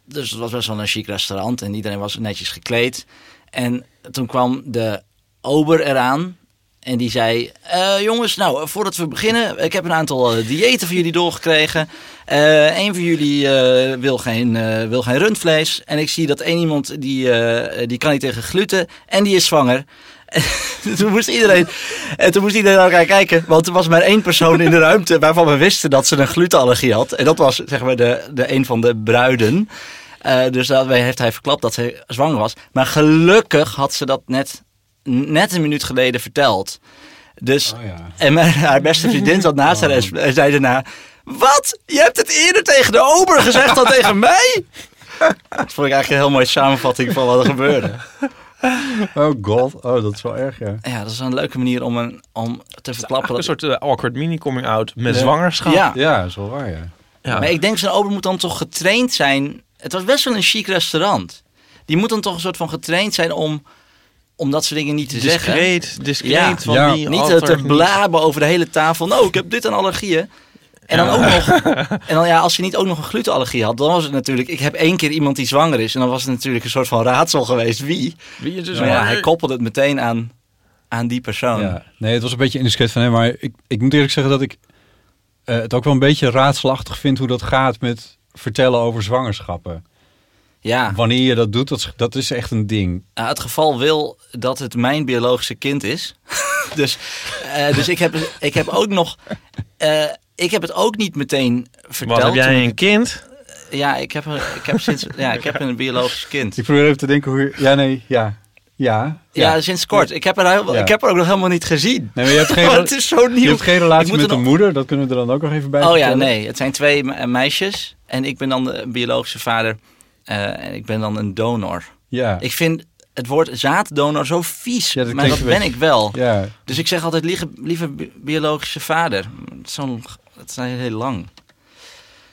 Speaker 6: dus het was best wel een chic restaurant en iedereen was netjes gekleed. En toen kwam de ober eraan en die zei... "Eh, jongens, nou, eh, voordat we beginnen, ik heb een aantal eh, diëten van jullie doorgekregen. Eh een van jullie eh, wil, geen, eh, wil geen rundvlees. En ik zie dat één iemand, die, eh, die kan niet tegen gluten en die is zwanger. En toen moest iedereen, en toen moest iedereen naar elkaar kijken. Want er was maar één persoon in de ruimte waarvan we wisten dat ze een glutenallergie had. En dat was zeg maar de, de een van de bruiden. Eh, dus daarbij heeft hij verklapt dat ze zwanger was. Maar gelukkig had ze dat net, net een minuut geleden verteld. Dus
Speaker 4: Oh ja. Oh.
Speaker 6: en mijn, haar beste vriendin zat naast haar en s- en zei daarna... Wat? Je hebt het eerder tegen de ober gezegd dan tegen mij? Dat vond ik eigenlijk een heel mooie samenvatting van wat er gebeurde.
Speaker 4: Oh god, oh dat is wel erg ja.
Speaker 6: Ja, dat is een leuke manier om, een, om te verklappen.
Speaker 3: Een
Speaker 6: Dat...
Speaker 3: soort eh, awkward mini-coming-out met
Speaker 4: Ja.
Speaker 3: zwangerschap.
Speaker 6: Ja.
Speaker 4: Ja, dat is wel waar ja.
Speaker 3: Ja.
Speaker 6: Maar ik denk zo'n ober moet dan toch getraind zijn. Het was best wel een chic restaurant. Die moet dan toch een soort van getraind zijn om, om dat soort dingen niet te zeggen.
Speaker 3: discreet, discreet.
Speaker 6: Ja.
Speaker 3: Van
Speaker 4: Ja.
Speaker 3: die
Speaker 6: Niet eh,
Speaker 3: alter-
Speaker 6: te blaben over de hele tafel. Nou, ik heb dit aan allergieën. En dan ook nog. En dan ja, als je niet ook nog een glutenallergie had, dan was het natuurlijk. Ik heb één keer iemand die zwanger is. En dan was het natuurlijk een soort van raadsel geweest wie.
Speaker 3: Wie je dus
Speaker 6: Maar ja, hij koppelde het meteen aan, aan die persoon.
Speaker 4: Ja. Nee, het was een beetje indiscreet van hem, maar ik, ik moet eerlijk zeggen dat ik eh, het ook wel een beetje raadselachtig vind hoe dat gaat met vertellen over zwangerschappen.
Speaker 6: ja.
Speaker 4: Wanneer je dat doet, dat is, dat is echt een ding.
Speaker 6: Nou, het geval wil dat het mijn biologische kind is. dus eh, dus ik, heb, ik heb ook nog. eh, ik heb het ook niet meteen verteld.
Speaker 3: Wat, heb jij
Speaker 6: toen-
Speaker 3: een kind?
Speaker 6: Ja, ik heb, een- ik heb sinds. Ja, ik heb een biologisch kind.
Speaker 4: Ik probeer even te denken hoe je... Ja, nee, ja. Ja.
Speaker 6: Ja, sinds kort. Ik heb, er heel,
Speaker 4: Ja.
Speaker 6: ik heb er ook nog helemaal niet gezien.
Speaker 4: Nee, maar je hebt geen,
Speaker 6: Maar het is zo
Speaker 4: je
Speaker 6: nieuw.
Speaker 4: hebt geen
Speaker 6: Ik
Speaker 4: relatie
Speaker 6: moet
Speaker 4: met
Speaker 6: er
Speaker 4: de
Speaker 6: nog-
Speaker 4: moeder. Dat kunnen we er dan ook nog even bij
Speaker 6: Oh ja,
Speaker 4: vertellen.
Speaker 6: nee. Het zijn twee me- meisjes. En ik ben dan de biologische vader. eh, en ik ben dan een donor.
Speaker 4: Ja.
Speaker 6: Ik vind het woord zaaddonor zo vies.
Speaker 4: Ja, dat
Speaker 6: maar
Speaker 4: klinkt
Speaker 6: dat
Speaker 4: een
Speaker 6: ben ik wel.
Speaker 4: ja.
Speaker 6: Dus ik zeg altijd lieve, lieve bi- biologische vader. Het is zo'n- het is heel lang.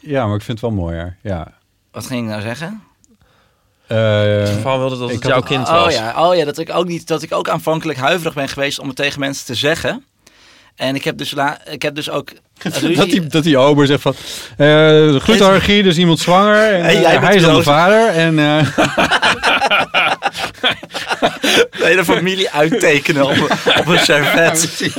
Speaker 4: ja, maar ik vind het wel mooier. Ja.
Speaker 6: Wat ging ik nou zeggen?
Speaker 3: In ieder
Speaker 4: Eh,
Speaker 3: geval wilde dat
Speaker 4: ik
Speaker 3: het
Speaker 4: had
Speaker 3: jouw
Speaker 4: ook-
Speaker 3: kind
Speaker 6: oh,
Speaker 3: was.
Speaker 6: ja, oh ja, dat ik ook niet, dat ik ook aanvankelijk huiverig ben geweest om het tegen mensen te zeggen. En ik heb dus, la, ik heb dus ook. ruzie-
Speaker 4: dat, die, dat die ober zegt van... eh de glutenallergie, dus iemand zwanger. En,
Speaker 6: Hey,
Speaker 4: eh,
Speaker 6: jij bent
Speaker 4: hij is dan de
Speaker 6: biologisch-
Speaker 4: vader. En eh,
Speaker 6: de hele familie uittekenen op, een- op een servet.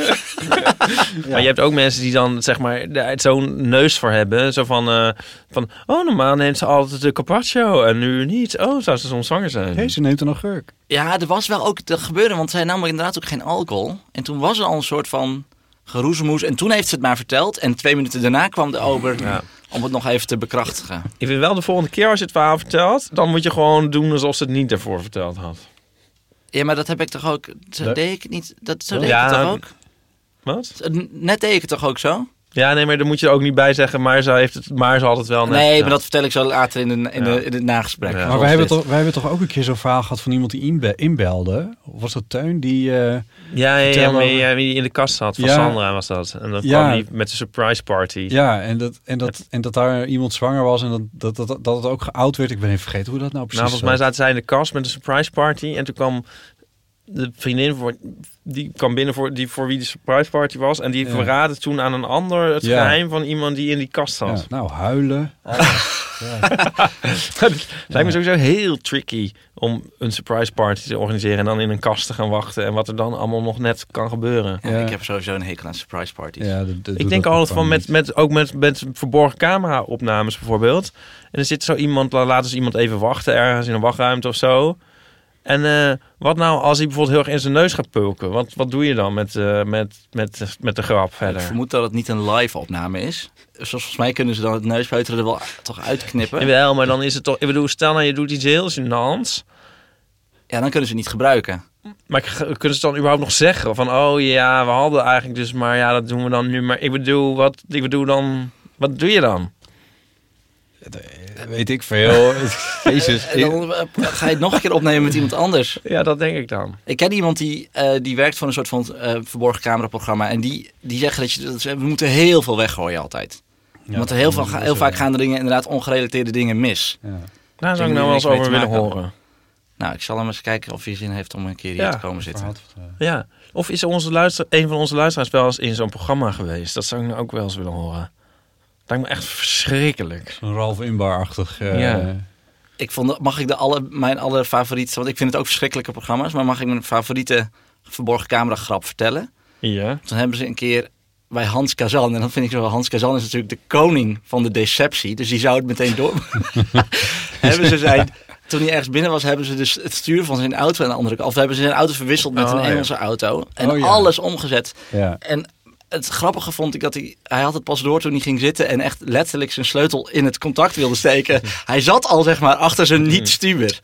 Speaker 3: Maar je hebt ook mensen die dan zeg maar daar zo'n neus voor hebben. Zo van, eh, van, oh normaal neemt ze altijd de carpaccio en nu niet. Oh, zou ze soms zwanger zijn?
Speaker 4: hey, ze neemt een augurk.
Speaker 6: Ja, er was wel ook te gebeuren, want zij nam er inderdaad ook geen alcohol. En toen was er al een soort van geroezemoes. En toen heeft ze het maar verteld. En twee minuten daarna kwam de ober
Speaker 3: Ja.
Speaker 6: om het nog even te bekrachtigen.
Speaker 3: Ik vind wel de volgende keer als je het verhaal vertelt, dan moet je gewoon doen alsof ze het niet daarvoor verteld had.
Speaker 6: Ja, maar dat heb ik toch ook. Zo
Speaker 4: Nee.
Speaker 6: deed ik het niet. Dat, zo
Speaker 3: Ja.
Speaker 6: deed ik het toch ook.
Speaker 3: Wat?
Speaker 6: Zo- Net deed ik het toch ook zo?
Speaker 3: Ja, nee, maar daar moet je er ook niet bij zeggen, maar ze, heeft het, maar ze had het wel net.
Speaker 6: nee, maar
Speaker 3: verteld.
Speaker 6: dat vertel ik zo later in, de, in,
Speaker 3: Ja.
Speaker 6: de, in het nagesprek.
Speaker 3: Ja.
Speaker 4: maar
Speaker 6: Volgens
Speaker 4: wij hebben,
Speaker 6: dit.
Speaker 4: toch, wij hebben toch ook een keer zo'n verhaal gehad van iemand die inbe- inbelde. Of was dat Teun? Die, eh,
Speaker 3: Ja, ja, ja,
Speaker 4: Vertel
Speaker 3: maar
Speaker 4: over-
Speaker 3: ja, wie die in de kast zat, van
Speaker 4: Ja.
Speaker 3: Sandra was dat. En dan
Speaker 4: Ja.
Speaker 3: kwam die met de surprise party.
Speaker 4: ja, en dat, en, dat, en dat daar iemand zwanger was en dat, dat, dat, dat het ook geout werd. Ik ben even vergeten hoe dat nou precies
Speaker 3: nou, volgens mij
Speaker 4: zat.
Speaker 3: zaten zij in de kast met een surprise party. En toen kwam de vriendin voor, die kwam binnen voor, die, voor wie de surprise party was. En die
Speaker 4: Ja.
Speaker 3: verraadde toen aan een ander het
Speaker 4: Ja.
Speaker 3: geheim van iemand die in die kast zat.
Speaker 4: Ja, nou, huilen.
Speaker 3: Het lijkt me sowieso heel tricky om een surprise party te organiseren en dan in een kast te gaan wachten en wat er dan allemaal nog net kan gebeuren.
Speaker 6: Ja,
Speaker 4: Ja.
Speaker 6: Oh, Ik heb sowieso een hekel aan surprise parties.
Speaker 4: Ja, dat- dat
Speaker 3: Ik
Speaker 4: doet
Speaker 3: denk
Speaker 4: dat
Speaker 3: altijd van
Speaker 4: gewoon
Speaker 3: met,
Speaker 4: niet.
Speaker 3: met, ook met, met verborgen camera opnames bijvoorbeeld. En dan zit zo iemand, la- laten ze iemand even wachten ergens in een wachtruimte of zo. En eh, wat nou als hij bijvoorbeeld heel erg in zijn neus gaat pulken? Wat, wat doe je dan met, eh, met, met, met de grap
Speaker 6: Ik
Speaker 3: verder?
Speaker 6: vermoed dat het niet een live opname is. Dus volgens mij kunnen ze dan het neuspeuteren er wel toch uitknippen.
Speaker 3: Jawel, maar dan is het toch... Ik bedoel, stel nou je doet iets heel gênants.
Speaker 6: Ja, dan kunnen ze het niet gebruiken.
Speaker 3: Maar k- kunnen ze dan überhaupt nog zeggen van... Oh ja, we hadden eigenlijk dus... Maar ja, dat doen we dan nu. Maar ik bedoel, wat, ik bedoel dan... Wat doe je dan?
Speaker 4: Weet ik veel. Jezus.
Speaker 6: En dan eh, ga je het nog een keer opnemen met iemand anders.
Speaker 3: Ja, dat denk ik dan.
Speaker 6: Ik ken iemand die, eh, die werkt van een soort van eh, verborgen cameraprogramma. En die, die zeggen dat, je, dat ze- we moeten heel veel weggooien altijd. Want er heel, veel, ga- heel vaak gaan er dingen, inderdaad ongerelateerde dingen mis.
Speaker 4: Ja.
Speaker 3: Daar zou ik nou
Speaker 6: Dingen die
Speaker 3: wel eens
Speaker 6: niks mee
Speaker 3: over
Speaker 6: te
Speaker 3: willen
Speaker 6: maken
Speaker 3: horen.
Speaker 6: Nou, ik zal hem eens kijken of hij zin heeft om een keer hier
Speaker 3: Ja,
Speaker 6: te komen zitten.
Speaker 4: eh,
Speaker 3: Ja. Of is onze luister, een van onze luisteraars wel eens in zo'n programma geweest? Dat zou ik nou ook wel eens willen horen. Dat lijkt me echt verschrikkelijk.
Speaker 4: Een Ralf Inbar-achtig. eh,
Speaker 3: Ja.
Speaker 6: Ik vond, mag ik de alle, mijn allerfavoriete, want ik vind het ook verschrikkelijke programma's. Maar mag ik mijn favoriete verborgen camera grap vertellen?
Speaker 3: Ja.
Speaker 6: Toen hebben ze een keer bij Hans Kazan. En dat vind ik zo wel. Hans Kazan is natuurlijk de koning van de deceptie. Dus die zou het meteen door. hebben ze zijn, toen hij ergens binnen was, hebben ze dus het stuur van zijn auto aan de andere kant. Of hebben ze zijn auto verwisseld met
Speaker 3: Oh,
Speaker 6: een
Speaker 3: ja.
Speaker 6: Engelse auto. En
Speaker 4: Oh, ja.
Speaker 6: alles omgezet.
Speaker 4: ja.
Speaker 6: En het grappige vond ik dat hij... Hij had het pas door toen hij ging zitten en echt letterlijk zijn sleutel in het contact wilde steken. Hij zat al zeg maar achter
Speaker 4: Mm.
Speaker 6: zijn niet-stuur.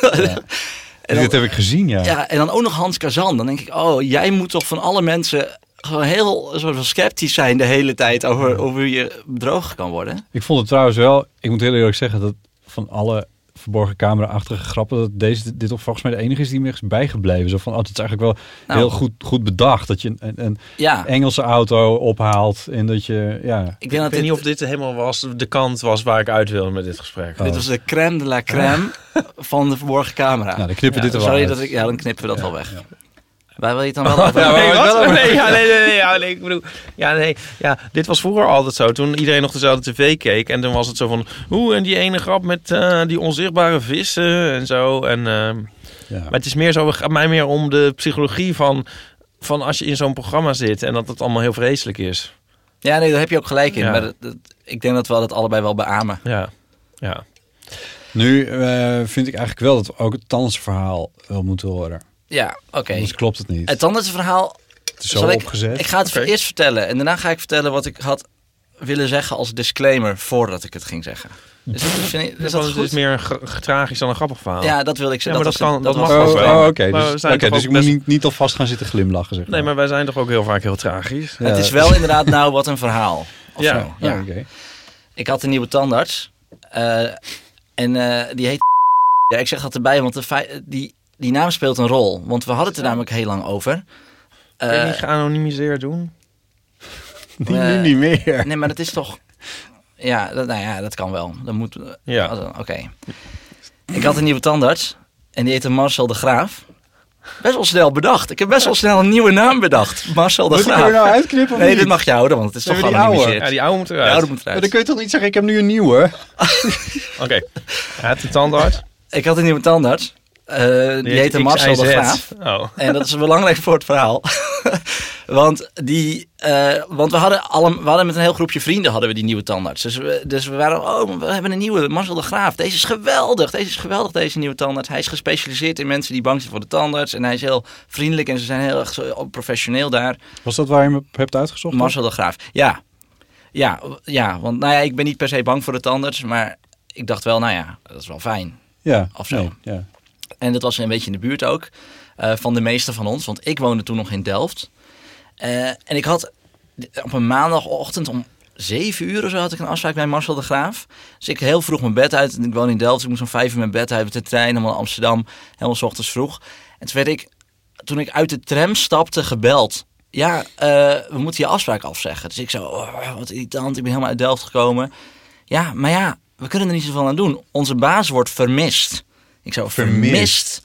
Speaker 6: En dan-
Speaker 4: Dit heb ik gezien, ja.
Speaker 6: ja, en dan ook nog Hans Kazan. Dan denk ik, oh, jij moet toch van alle mensen gewoon heel een soort van sceptisch zijn de hele tijd over, over hoe je bedrogen kan worden.
Speaker 4: Ik vond het trouwens wel, ik moet heel eerlijk zeggen, dat van alle verborgen camera-achtige grappen, dat deze, dit toch volgens mij de enige is die me is bijgebleven. Zo van, oh, dat is eigenlijk wel
Speaker 6: Nou.
Speaker 4: heel goed, goed bedacht. Dat je een, een- een
Speaker 6: Ja,
Speaker 4: Engelse auto ophaalt en dat je, ja.
Speaker 6: ik denk dat
Speaker 3: Ik weet
Speaker 6: dit,
Speaker 3: niet of dit helemaal was, de kant was waar ik uit wilde met dit gesprek.
Speaker 4: Oh.
Speaker 6: dit was de crème de la crème van de verborgen camera.
Speaker 4: Nou, dan knippen we dit er wel
Speaker 6: Sorry
Speaker 4: uit.
Speaker 6: dat ik, ja, dan knippen we dat wel weg. Waar wil je het dan wel over
Speaker 3: Ja,
Speaker 6: hebben?
Speaker 3: nee, wat? Nee, ja, nee, nee, nee, ja, nee, ik bedoel, ja, nee, ja, dit was vroeger altijd zo. Toen iedereen nog dezelfde tv keek en toen was het zo van, hoe en die ene grap met eh, die onzichtbare vissen en zo. En, ehm,
Speaker 4: ja.
Speaker 3: Maar het is meer zo, het gaat mij meer om de psychologie van, van als je in zo'n programma zit en dat het allemaal heel vreselijk is.
Speaker 6: Ja, nee, daar heb je ook gelijk in.
Speaker 3: Ja.
Speaker 6: Maar dat- dat- ik denk dat we dat allebei wel beamen.
Speaker 3: Ja, ja.
Speaker 4: Nu eh, vind ik eigenlijk wel dat we ook het tandartsverhaal wel moeten horen.
Speaker 6: Ja, oké.
Speaker 4: Anders klopt het niet.
Speaker 6: Het andere verhaal
Speaker 4: Het is zo
Speaker 6: Zal ik-
Speaker 4: opgezet.
Speaker 6: Ik ga het
Speaker 3: Oké.
Speaker 6: eerst vertellen en daarna ga ik vertellen wat ik had willen zeggen als disclaimer voordat ik het ging zeggen. Is dat, vind ik- is
Speaker 3: Dus
Speaker 6: dat
Speaker 3: dat is
Speaker 6: goed?
Speaker 3: dus meer een gra- tragisch dan een grappig verhaal.
Speaker 6: Ja, dat wil ik
Speaker 3: Ja, maar
Speaker 6: zeggen.
Speaker 3: dat kan- dat mag
Speaker 4: Oh,
Speaker 3: wel.
Speaker 4: oh, oké.
Speaker 3: Maar we
Speaker 4: Dus,
Speaker 3: zijn
Speaker 4: oké,
Speaker 3: toch
Speaker 4: dus
Speaker 3: ook
Speaker 4: ik moet
Speaker 3: best-
Speaker 4: niet, niet alvast gaan zitten glimlachen, zeg
Speaker 3: Nee,
Speaker 4: maar.
Speaker 3: maar wij zijn toch ook heel vaak heel tragisch.
Speaker 4: Ja.
Speaker 6: Het is wel inderdaad nou wat een verhaal. Of
Speaker 3: Ja.
Speaker 6: zo. Ja.
Speaker 4: Oh, oké.
Speaker 6: Ik had een nieuwe tandarts eh, en eh, die heet Ja, ik zeg dat erbij, want de fei- die, die naam speelt een rol. Want we hadden het er namelijk heel lang over.
Speaker 3: Kun je
Speaker 6: Eh,
Speaker 3: niet geanonimiseerd doen?
Speaker 4: Die nu niet meer.
Speaker 6: nee, maar dat is toch... Ja, dat, nou ja, dat kan wel. Dat moet,
Speaker 3: Ja.
Speaker 6: Also, Oh, Oké. Ik had een nieuwe tandarts. En die heette Marcel de Graaf. Best wel snel bedacht. Ik heb best wel snel een nieuwe naam bedacht. Marcel de
Speaker 4: Moet ik er nou
Speaker 6: Graaf.
Speaker 4: uitknippen of
Speaker 6: Nee,
Speaker 4: niet?
Speaker 6: dit mag je houden, want het is
Speaker 4: Nee, maar
Speaker 6: toch
Speaker 4: die oude.
Speaker 3: Ja,
Speaker 6: geanonimiseerd.
Speaker 3: die oude moet
Speaker 6: Die
Speaker 3: eruit.
Speaker 6: oude moet
Speaker 4: Maar
Speaker 6: eruit.
Speaker 4: dan kun je toch niet zeggen, ik heb nu een nieuwe?
Speaker 3: Oké. Hij heeft de tandarts.
Speaker 6: Ik had een nieuwe tandarts. Eh, die heette Marcel de
Speaker 3: XIZ.
Speaker 6: Graaf.
Speaker 3: Oh.
Speaker 6: En dat is belangrijk voor het verhaal. want, die, eh, want we, hadden alle, we hadden met een heel groepje vrienden hadden we die nieuwe tandarts. Dus we, dus we waren, oh, we hebben een nieuwe, Marcel de Graaf. Deze is geweldig, deze is geweldig, deze nieuwe tandarts. Hij is gespecialiseerd in mensen die bang zijn voor de tandarts. En hij is heel vriendelijk en ze zijn heel erg zo professioneel daar.
Speaker 4: Was dat waar je me op hebt uitgezocht?
Speaker 6: Marcel de Graaf, ja. Ja, w- ja, want nou ja, ik ben niet per se bang voor de tandarts. Maar ik dacht wel, nou ja, dat is wel fijn.
Speaker 4: Ja.
Speaker 6: Of zo.
Speaker 4: Nee, ja.
Speaker 6: En dat was een beetje in de buurt ook eh, van de meeste van ons. Want ik woonde toen nog in Delft. Eh, en ik had op een maandagochtend om zeven uur of zo had ik een afspraak bij Marcel de Graaf. Dus ik heel vroeg mijn bed uit. En ik woon in Delft. Dus ik moest om vijf uur mijn bed uit met de trein helemaal naar Amsterdam. Helemaal 's ochtends vroeg. En toen werd ik, toen ik uit de tram stapte, gebeld. Ja, eh, we moeten je afspraak afzeggen. Dus ik zo, oh, wat irritant. Ik ben helemaal uit Delft gekomen. Ja, maar ja, we kunnen er niet zoveel aan doen. Onze baas wordt vermist. Ik zo, vermist?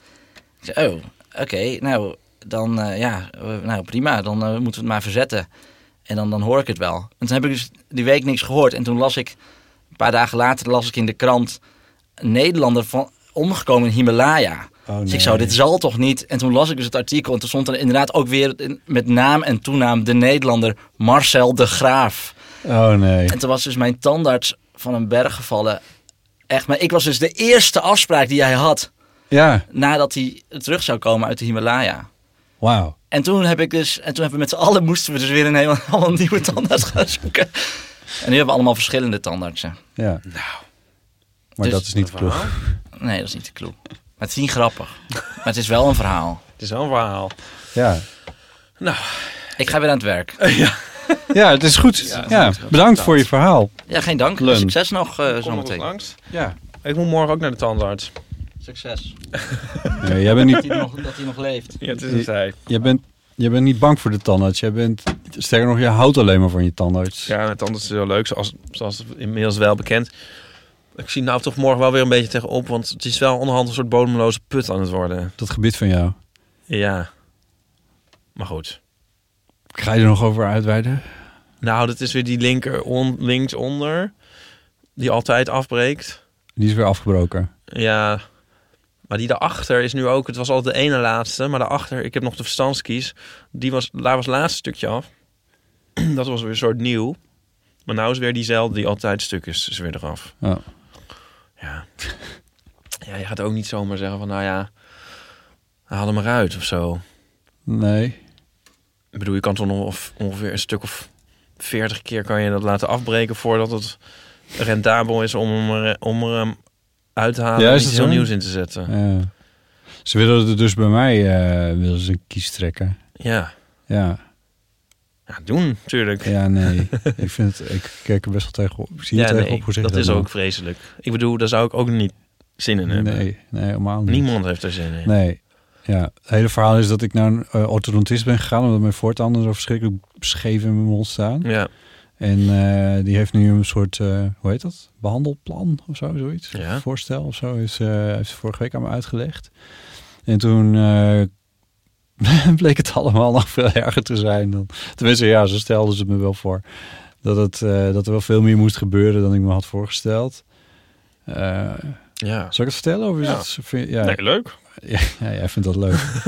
Speaker 6: Ik zei, oh, oké, nou, dan, eh, ja, eh, nou prima, dan eh, moeten we het maar verzetten. En dan, dan hoor ik het wel. En toen heb ik dus die week niks gehoord. En toen las ik paar dagen later las ik in de krant... een Nederlander van, omgekomen in Himalaya.
Speaker 4: Oh,
Speaker 6: Dus
Speaker 4: nee.
Speaker 6: ik zou, dit zal toch niet? En toen las ik dus het artikel en toen stond er inderdaad ook weer in- met naam en toenaam de Nederlander Marcel de Graaf.
Speaker 4: Oh nee.
Speaker 6: En toen was dus mijn tandarts van een berg gevallen. Echt, maar ik was dus de eerste afspraak die hij had
Speaker 4: Ja,
Speaker 6: nadat hij terug zou komen uit de Himalaya.
Speaker 4: wauw.
Speaker 6: En toen heb ik dus, en toen hebben we met z'n allen moesten we dus weer een helemaal nieuwe tandarts gaan zoeken. En nu hebben we allemaal verschillende tandartsen.
Speaker 4: Ja. Nou. Maar
Speaker 6: Dus-
Speaker 4: dat is niet de ploeg.
Speaker 6: Nee, dat is niet de clue. Maar het is niet grappig. Maar het is wel een verhaal.
Speaker 3: Het is wel een verhaal.
Speaker 4: Ja.
Speaker 6: Ik ga weer aan het werk.
Speaker 4: ja, het is goed. Ja, bedankt voor je verhaal.
Speaker 6: Ja, geen dank.
Speaker 4: Lun.
Speaker 6: Succes nog eh
Speaker 3: Kom nog
Speaker 6: zometeen.
Speaker 3: langs.
Speaker 4: Ja.
Speaker 3: Ik moet morgen ook naar de tandarts.
Speaker 6: Succes.
Speaker 4: Nee, jij bent niet
Speaker 6: Dat hij nog, dat hij nog leeft.
Speaker 3: Ja, het is
Speaker 4: een
Speaker 3: zij.
Speaker 4: Jij bent, jij bent niet bang voor de tandarts. Jij bent, sterker nog, je houdt alleen maar van je tandarts.
Speaker 3: Ja, met tandarts is heel leuk, zoals, zoals inmiddels wel bekend. Ik zie nou toch morgen wel weer een beetje tegenop, want het is wel onderhand een soort bodemloze put aan het worden.
Speaker 4: Dat gebied van jou.
Speaker 3: Ja. Maar goed.
Speaker 4: Ga je er nog over uitweiden?
Speaker 3: Nou, dat is weer die linker on, linksonder, die altijd afbreekt.
Speaker 4: Die is weer afgebroken.
Speaker 3: Ja. Maar die daarachter is nu ook, het was altijd de ene laatste, maar daarachter, ik heb nog de verstandskies, die was, daar was het laatste stukje af. Dat was weer een soort nieuw. Maar nou is weer diezelfde die altijd stuk is, is weer eraf.
Speaker 4: Oh.
Speaker 3: Ja. ja, je gaat ook niet zomaar zeggen van, nou ja, haal hem eruit of zo.
Speaker 4: Nee.
Speaker 3: Ik bedoel, je kan toch nog of- ongeveer een stuk of veertig keer kan je dat laten afbreken voordat het rendabel is om hem, er- om er hem uit te halen
Speaker 4: Ja,
Speaker 3: en
Speaker 4: is
Speaker 3: iets
Speaker 4: dat
Speaker 3: heel
Speaker 4: zo?
Speaker 3: nieuws in te zetten.
Speaker 4: Ja. ze willen er dus bij mij eh, willen ze een kies trekken.
Speaker 3: Ja,
Speaker 4: Ja,
Speaker 3: ja doen natuurlijk.
Speaker 4: ja nee. ik, vind het, ik kijk er best wel tegen op. Ik zie
Speaker 3: Ja,
Speaker 4: er tegen
Speaker 3: nee,
Speaker 4: op. Hoe zeg je
Speaker 3: dat is
Speaker 4: nou?
Speaker 3: ook vreselijk. Ik bedoel, daar zou ik ook niet zin in hebben.
Speaker 4: Nee, nee, helemaal niet.
Speaker 3: Niemand heeft er zin in.
Speaker 4: Nee. Ja, het hele verhaal is dat ik naar een eh, orthodontist ben gegaan... omdat mijn voortanden zo verschrikkelijk scheef in mijn mond staan.
Speaker 3: Ja,
Speaker 4: En eh, die heeft nu een soort, eh, hoe heet dat? Behandelplan of zo, zoiets.
Speaker 3: Ja.
Speaker 4: Voorstel of zo, is, eh, heeft ze vorige week aan me uitgelegd. En toen eh, bleek het allemaal nog veel erger te zijn. Dan, tenminste, ja, zo stelden ze het me wel voor. Dat, het, eh, dat er wel veel meer moest gebeuren dan ik me had voorgesteld. Eh,
Speaker 3: ja.
Speaker 4: zal ik het vertellen? Of is
Speaker 3: Ja.
Speaker 4: het, vind- ja,
Speaker 3: Nee, leuk.
Speaker 4: ja, ja, jij vindt dat leuk.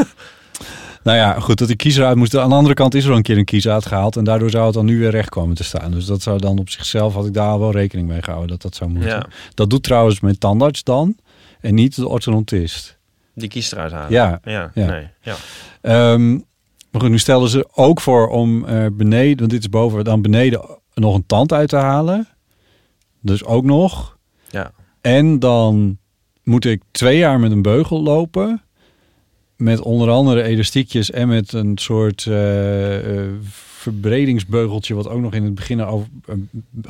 Speaker 4: nou ja, goed, dat die kies eruit moest. Aan de andere kant is er al een keer een kies uitgehaald. En daardoor zou het dan nu weer recht komen te staan. Dus dat zou dan op zichzelf, had ik daar al wel rekening mee gehouden dat dat zou moeten.
Speaker 3: Ja,
Speaker 4: Dat doet trouwens mijn tandarts dan. En niet de orthodontist.
Speaker 3: die kiest eruit halen.
Speaker 4: Ja.
Speaker 3: Ja,
Speaker 4: Ja.
Speaker 3: nee. Ja.
Speaker 4: Ehm, maar goed, nu stelden ze ook voor om eh, beneden, want dit is boven, dan beneden nog een tand uit te halen. Dus ook nog.
Speaker 3: Ja.
Speaker 4: En dan moet ik twee jaar met een beugel lopen. Met onder andere elastiekjes en met een soort eh, eh, verbredingsbeugeltje... wat ook nog in het begin over, eh,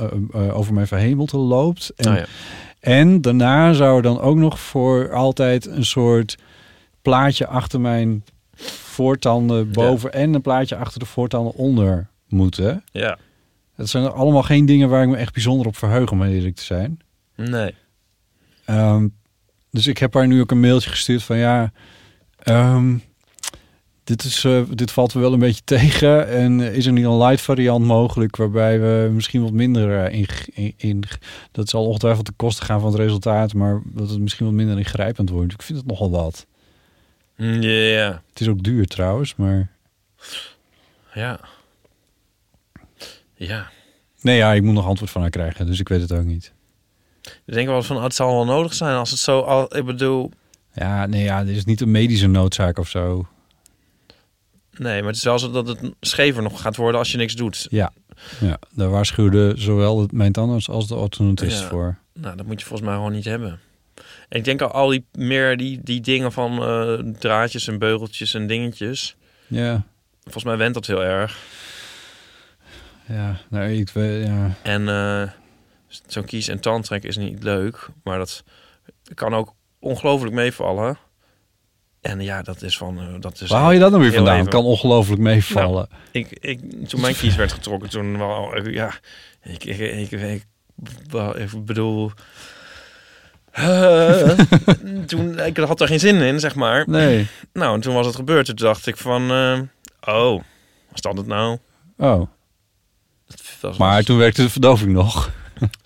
Speaker 4: eh, eh, over mijn verhemelte loopt. En
Speaker 3: Oh, ja.
Speaker 4: en daarna zou er dan ook nog voor altijd een soort plaatje achter mijn voortanden boven en een plaatje achter de voortanden onder moeten.
Speaker 3: ja,
Speaker 4: Dat zijn allemaal geen dingen waar ik me echt bijzonder op verheug, om heel eerlijk te zijn.
Speaker 3: nee.
Speaker 4: Ehm, dus ik heb haar nu ook een mailtje gestuurd van ja, ehm, dit, is, eh, dit valt wel een beetje tegen. En eh, is er niet een light variant mogelijk waarbij we misschien wat minder eh, in, in, in- Dat zal ongetwijfeld de kosten gaan van het resultaat, maar dat het misschien wat minder ingrijpend wordt. Ik vind het nogal wat.
Speaker 3: Ja, Mm, ja.
Speaker 4: Het is ook duur trouwens, maar...
Speaker 3: Ja. Ja.
Speaker 4: Nee, ja, ik moet nog antwoord van haar krijgen, dus ik weet het ook niet.
Speaker 3: Ik denk wel eens van, oh, het zal wel nodig zijn als het zo al... Ik bedoel,
Speaker 4: Ja, nee, ja, dit is niet een medische noodzaak of zo.
Speaker 3: nee, maar het is wel zo dat het schever nog gaat worden als je niks doet.
Speaker 4: Ja, ja daar waarschuwde zowel het- mijn tandarts als de orthodontist
Speaker 3: Ja.
Speaker 4: voor.
Speaker 3: Nou, dat moet je volgens mij gewoon niet hebben. En ik denk al, al die meer die, die dingen van eh, draadjes en beugeltjes en dingetjes.
Speaker 4: Ja,
Speaker 3: Volgens mij went dat heel erg.
Speaker 4: Ja, nou, ik weet, ja.
Speaker 3: En eh, zo'n kies- en tandtrek is niet leuk, maar dat kan ook ongelooflijk meevallen. En ja, dat is van... eh, dat is
Speaker 4: Waar haal je dat nou weer
Speaker 3: heel
Speaker 4: vandaan? Het
Speaker 3: even.
Speaker 4: kan ongelooflijk meevallen.
Speaker 3: Ik, ik, toen mijn kies werd getrokken, toen wel, eh, ja, ik, ik, ik, ik, wel, ik bedoel, eh, toen, ik had er geen zin in, zeg maar.
Speaker 4: Nee.
Speaker 3: Nou, en toen was het gebeurd. Toen dacht ik van, eh, oh, was dat het nou?
Speaker 4: Oh,
Speaker 3: Dat was-
Speaker 4: maar toen werkte de verdoving nog.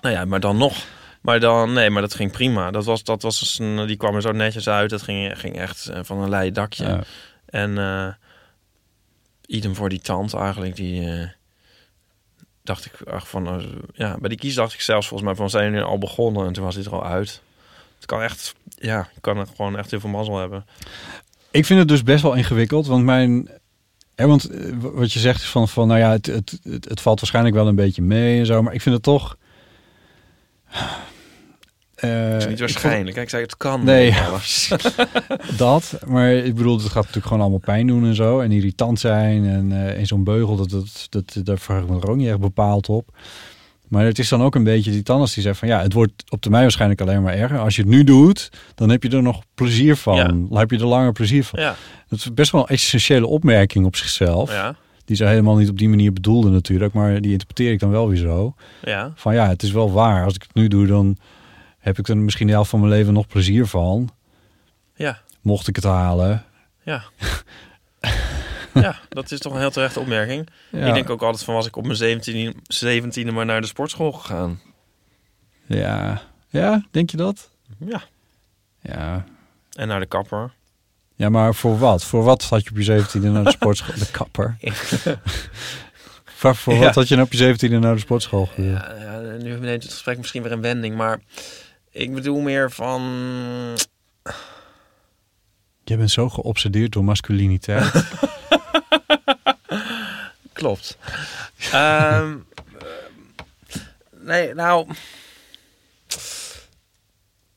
Speaker 3: Nou ja, maar dan nog. Maar dan, nee, maar dat ging prima. Dat was, dat was dus een, die kwam er zo netjes uit. Dat ging, ging echt eh, van een leien dakje.
Speaker 4: Ja.
Speaker 3: En eh idem voor die tand eigenlijk. Die eh, dacht ik ach, van, eh, ja, bij die kies dacht ik zelfs volgens mij van zijn jullie al begonnen en toen was dit er al uit. Het kan echt, ja, je kan gewoon echt heel veel mazzel hebben.
Speaker 4: Ik vind het dus best wel ingewikkeld, want mijn. Hè, want eh, w- wat je zegt is van, van nou ja, het, het, het, het valt waarschijnlijk wel een beetje mee en zo, maar ik vind het toch. Eh,
Speaker 3: Het is niet
Speaker 4: ik
Speaker 3: waarschijnlijk. Kijk, ik zei het kan.
Speaker 4: Nee.
Speaker 3: niet alles.
Speaker 4: vond dat, maar ik bedoel, het gaat natuurlijk gewoon allemaal pijn doen en zo. En irritant zijn en eh, in zo'n beugel, dat, dat, dat, daar verheug ik me er ook niet echt bepaald op. Maar het is dan ook een beetje die tandarts die zegt van ja, het wordt op termijn waarschijnlijk alleen maar erger. Als je het nu doet, dan heb je er nog plezier van.
Speaker 3: Ja.
Speaker 4: Dan heb je er langer plezier van.
Speaker 3: ja,
Speaker 4: Dat is best wel een essentiële opmerking op zichzelf.
Speaker 3: ja,
Speaker 4: Die ze helemaal niet op die manier bedoelde natuurlijk. Maar die interpreteer ik dan wel weer zo.
Speaker 3: ja.
Speaker 4: Van ja, het is wel waar. Als ik het nu doe, dan heb ik er misschien de helft van mijn leven nog plezier van.
Speaker 3: Ja,
Speaker 4: Mocht ik het halen.
Speaker 3: ja. ja, dat is toch een heel terechte opmerking.
Speaker 4: Ja,
Speaker 3: Ik denk ook altijd van, was ik op mijn 17 17e maar naar de sportschool gegaan?
Speaker 4: ja. ja denk je dat?
Speaker 3: Ja.
Speaker 4: Ja.
Speaker 3: En naar de kapper.
Speaker 4: ja, maar voor wat? Voor wat had je op je 17e naar de sportschool? De kapper. Voor, voor
Speaker 3: Ja.
Speaker 4: wat had je nou op je 17e naar de sportschool gegaan?
Speaker 3: Ja, ja, nu neemt het gesprek misschien weer een wending, maar ik bedoel meer van...
Speaker 4: Je bent zo geobsedeerd door masculiniteit.
Speaker 3: Klopt. Ehm, eh, nee, nou...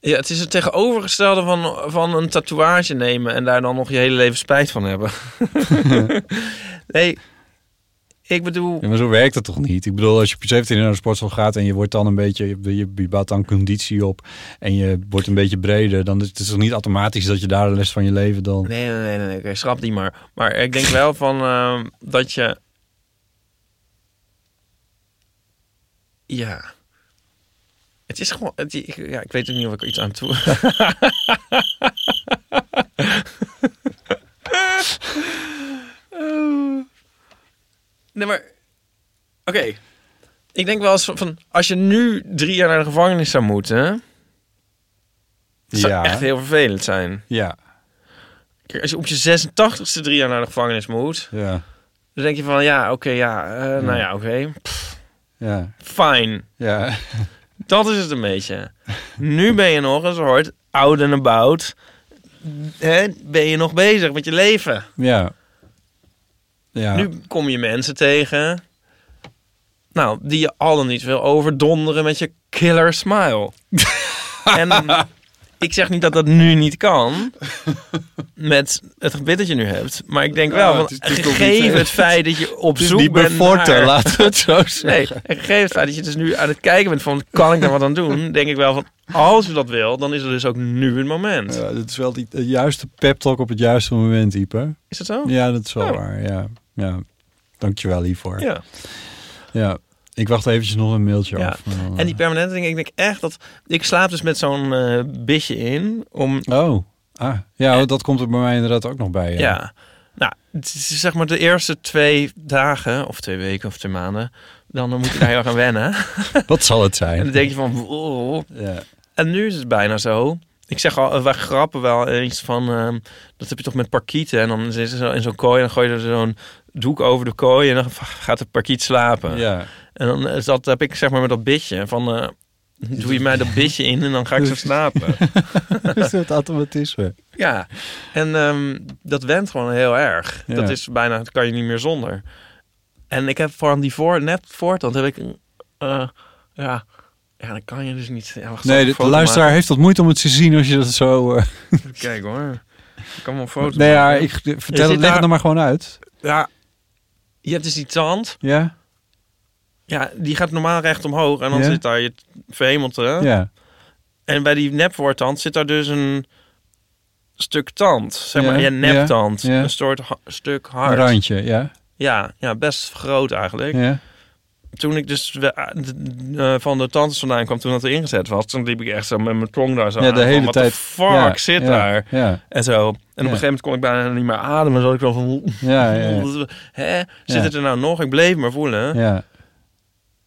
Speaker 3: Ja, het is het tegenovergestelde van, van een tatoeage nemen en daar dan nog je hele leven spijt van hebben. nee, ik bedoel...
Speaker 4: ja, maar zo werkt het toch niet? Ik bedoel, als je op je 17e naar de sportschool gaat en je wordt dan een beetje, je, je, je bouwt dan conditie op en je wordt een beetje breder, dan is het is toch niet automatisch dat je daar de rest van je leven dan.
Speaker 3: Nee, nee, nee, nee, nee. Oké, schrap die maar. Maar ik denk wel van ehm, dat je. Ja. Het is gewoon. Het, ik, ja, ik weet ook niet of ik er iets aan toe. nee, maar. Oké. Ik denk wel eens van, van. Als je nu drie jaar naar de gevangenis zou moeten. Het zou
Speaker 4: Ja.
Speaker 3: echt heel vervelend zijn.
Speaker 4: Ja,
Speaker 3: Kijk, als je op je 86ste drie jaar naar de gevangenis moet,
Speaker 4: ja,
Speaker 3: dan denk je van ja, oké, ja, eh, nou ja, oké,
Speaker 4: ja,
Speaker 3: fijn.
Speaker 4: ja.
Speaker 3: Dat is het een beetje. nu ben je nog een soort oud en about. Hè, ben je nog bezig met je leven?
Speaker 4: Ja. Ja.
Speaker 3: Nu kom je mensen tegen. Nou, die je al dan niet wil overdonderen met je killer smile. en ik zeg niet dat dat nu niet kan. Met het gebit dat je nu hebt. Maar ik denk wel,
Speaker 4: Ja,
Speaker 3: want
Speaker 4: het is niet
Speaker 3: gegeven
Speaker 4: compleet.
Speaker 3: het feit dat je op
Speaker 4: Het is
Speaker 3: zoek
Speaker 4: niet
Speaker 3: bent
Speaker 4: bevorten,
Speaker 3: naar...
Speaker 4: Dus laten we het zo zeggen.
Speaker 3: Nee, en gegeven het feit dat je dus nu aan het kijken bent van... kan ik daar wat aan doen? Denk ik wel van, als je dat wil, dan is er dus ook nu het moment.
Speaker 4: Ja, dat is wel die, de juiste pep talk op het juiste moment, Ieper.
Speaker 3: Is dat zo?
Speaker 4: Ja, dat is wel
Speaker 3: Ja.
Speaker 4: waar. Ja. ja. Dankjewel hiervoor. Ja.
Speaker 3: Oh. Ja.
Speaker 4: Ik wacht eventjes nog een mailtje
Speaker 3: Ja.
Speaker 4: af. eh. maar dan,
Speaker 3: En die permanente dingen, ik denk echt dat... Ik slaap dus met zo'n eh bitje in om
Speaker 4: Oh, ah. ja, oh, dat komt er bij mij inderdaad ook nog bij. Ja.
Speaker 3: Ja. Nou, het is zeg maar de eerste twee dagen, of twee weken of twee maanden, dan moet je daar heel erg aan wennen.
Speaker 4: Wat zal het
Speaker 3: En dan
Speaker 4: zijn?
Speaker 3: denk je van, wow.
Speaker 4: Ja.
Speaker 3: En nu is het bijna zo. Ik zeg al, eh, wij grappen wel eens van, ehm, dat heb je toch met parkieten. En dan zit ze zo in zo'n kooi en dan gooi je er zo'n doek over de kooi en dan gaat de parkiet slapen.
Speaker 4: ja.
Speaker 3: En dan is dat, heb ik zeg maar met dat bitje van, eh, doe je mij dat bitje in en dan ga ik zo slapen.
Speaker 4: is het automatisme.
Speaker 3: Ja, en ehm, dat went gewoon heel erg.
Speaker 4: Ja.
Speaker 3: Dat is bijna, dat kan je niet meer zonder. En ik heb van die voor, net voortand heb ik, een, eh, ja, ja, dan kan je dus niet. Ja, wacht, zal ik
Speaker 4: Nee,
Speaker 3: een
Speaker 4: de, de
Speaker 3: foto
Speaker 4: luisteraar heeft dat moeite om het te zien als je dat zo... eh,
Speaker 3: maken? Kijk hoor, ik kan wel een foto.
Speaker 4: nee, ja,
Speaker 3: maken.
Speaker 4: ik vertel,
Speaker 3: zit
Speaker 4: leg
Speaker 3: daar-
Speaker 4: het dan maar gewoon uit.
Speaker 3: ja, je hebt dus die tand,
Speaker 4: Ja?
Speaker 3: ja, die gaat normaal recht omhoog en dan
Speaker 4: Ja.
Speaker 3: zit daar je verhemelte.
Speaker 4: Ja.
Speaker 3: En bij die nepvoortand zit daar dus een stuk tand, zeg
Speaker 4: Ja,
Speaker 3: maar, je
Speaker 4: ja,
Speaker 3: neptand,
Speaker 4: ja.
Speaker 3: een soort ha- stuk
Speaker 4: Een
Speaker 3: hard.
Speaker 4: randje, ja.
Speaker 3: Ja, ja, best groot eigenlijk.
Speaker 4: ja.
Speaker 3: toen ik dus we- eh, d- d- eh, van de tandarts vandaan kwam, toen dat er ingezet was, toen liep ik echt zo met mijn tong daar zo
Speaker 4: Ja,
Speaker 3: aan,
Speaker 4: de hele
Speaker 3: van, "What
Speaker 4: tijd.
Speaker 3: the fuck
Speaker 4: ja,
Speaker 3: zit
Speaker 4: ja,
Speaker 3: daar?
Speaker 4: Ja,
Speaker 3: En zo. En op een gegeven moment kon ik bijna niet meer ademen. Zo had ik wel van,
Speaker 4: ja, ja.
Speaker 3: hè, zit het er nou nog? Ik bleef maar voelen.
Speaker 4: ja.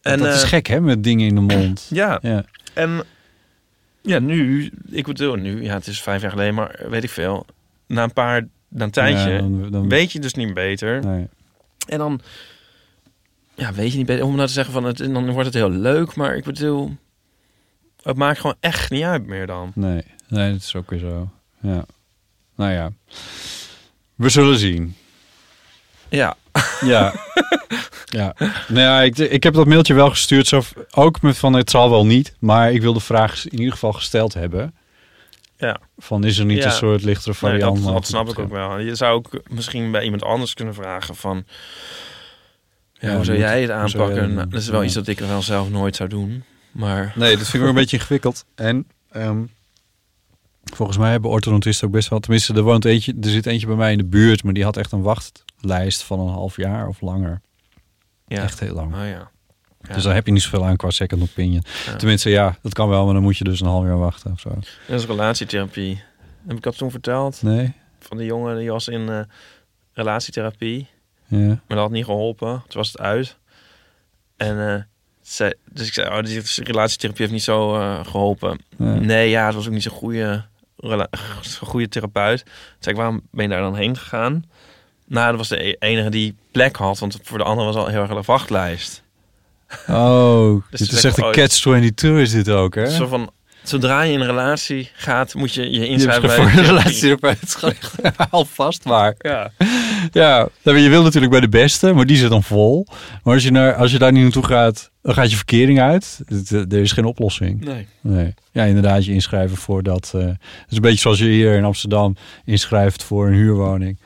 Speaker 4: En, dat
Speaker 3: eh,
Speaker 4: is gek, hè, met dingen in de mond.
Speaker 3: Ja,
Speaker 4: Ja.
Speaker 3: en ja, nu, ik bedoel, nu, ja, het is vijf jaar geleden, maar weet ik veel. Na een paar, na een tijdje,
Speaker 4: Ja, dan, dan-
Speaker 3: weet je dus niet beter.
Speaker 4: nee.
Speaker 3: En dan, ja, weet je niet beter. Om nou te zeggen van, het, en dan wordt het heel leuk, maar ik bedoel, het maakt gewoon echt niet uit meer dan.
Speaker 4: Nee, nee, dat is ook weer zo. Ja. Nou ja, we zullen zien.
Speaker 3: Ja,
Speaker 4: Ja. ja. Nou ja, ik, ik heb dat mailtje wel gestuurd. Zo, ook met van het zal wel niet. Maar ik wil de vraag in ieder geval gesteld hebben.
Speaker 3: Ja.
Speaker 4: Van is er niet
Speaker 3: Ja.
Speaker 4: een soort lichtere
Speaker 3: nee,
Speaker 4: variant?
Speaker 3: dat, dat
Speaker 4: Wat
Speaker 3: snap ik ook wel. Je zou ook misschien bij iemand anders kunnen vragen van, ja,
Speaker 4: Ja,
Speaker 3: hoe zou
Speaker 4: moet-
Speaker 3: jij het
Speaker 4: hoe zou jij
Speaker 3: aanpakken?
Speaker 4: dat
Speaker 3: Nou,
Speaker 4: doen?
Speaker 3: dat is wel
Speaker 4: Ja.
Speaker 3: iets dat ik wel zelf nooit zou doen, maar...
Speaker 4: Nee, dat vind ik wel een beetje ingewikkeld. En ehm, volgens mij hebben orthodontisten ook best wel... Tenminste, er, woont eentje, er zit eentje bij mij in de buurt. Maar die had echt een wachtlijst van een half jaar of langer.
Speaker 3: Ja.
Speaker 4: Echt heel lang.
Speaker 3: Oh ja. Ja.
Speaker 4: Dus daar heb je niet zoveel aan qua second opinion.
Speaker 3: Ja.
Speaker 4: Tenminste, ja, dat kan wel, maar dan moet je dus een half jaar wachten of zo.
Speaker 3: Dat is relatietherapie. Heb ik dat toen verteld?
Speaker 4: Nee?
Speaker 3: Van die jongen die was in eh, relatietherapie.
Speaker 4: Ja.
Speaker 3: Maar dat had niet geholpen. Toen was het uit. En eh, zei, dus ik zei, oh, die relatietherapie heeft niet zo eh, geholpen.
Speaker 4: Ja.
Speaker 3: Nee, ja, het was ook niet zo'n goede, rela- zo'n goede therapeut. Toen zei ik, waarom ben je daar dan heen gegaan? Nou, dat was de e- enige die plek had. Want voor de andere was al heel erg een wachtlijst.
Speaker 4: Oh,
Speaker 3: Dus
Speaker 4: dit
Speaker 3: ze
Speaker 4: is
Speaker 3: zeggen,
Speaker 4: echt een
Speaker 3: oh,
Speaker 4: catch-22 is dit ook, hè?
Speaker 3: Zo van, zodra je in een relatie gaat, moet je je
Speaker 4: Je hebt
Speaker 3: inschrijven
Speaker 4: voor
Speaker 3: bij
Speaker 4: een
Speaker 3: de
Speaker 4: relatie
Speaker 3: therapie.
Speaker 4: op uitgelegd. Alvast waar.
Speaker 3: Ja.
Speaker 4: Ja, nou, je wil natuurlijk bij de beste, maar die zit dan vol. Maar als je, naar, als je daar niet naartoe gaat, dan gaat je verkering uit. Het, eh, Er is geen oplossing.
Speaker 3: Nee.
Speaker 4: Nee. Ja, inderdaad, je inschrijven voor dat. eh, het is een beetje zoals je hier in Amsterdam inschrijft voor een huurwoning.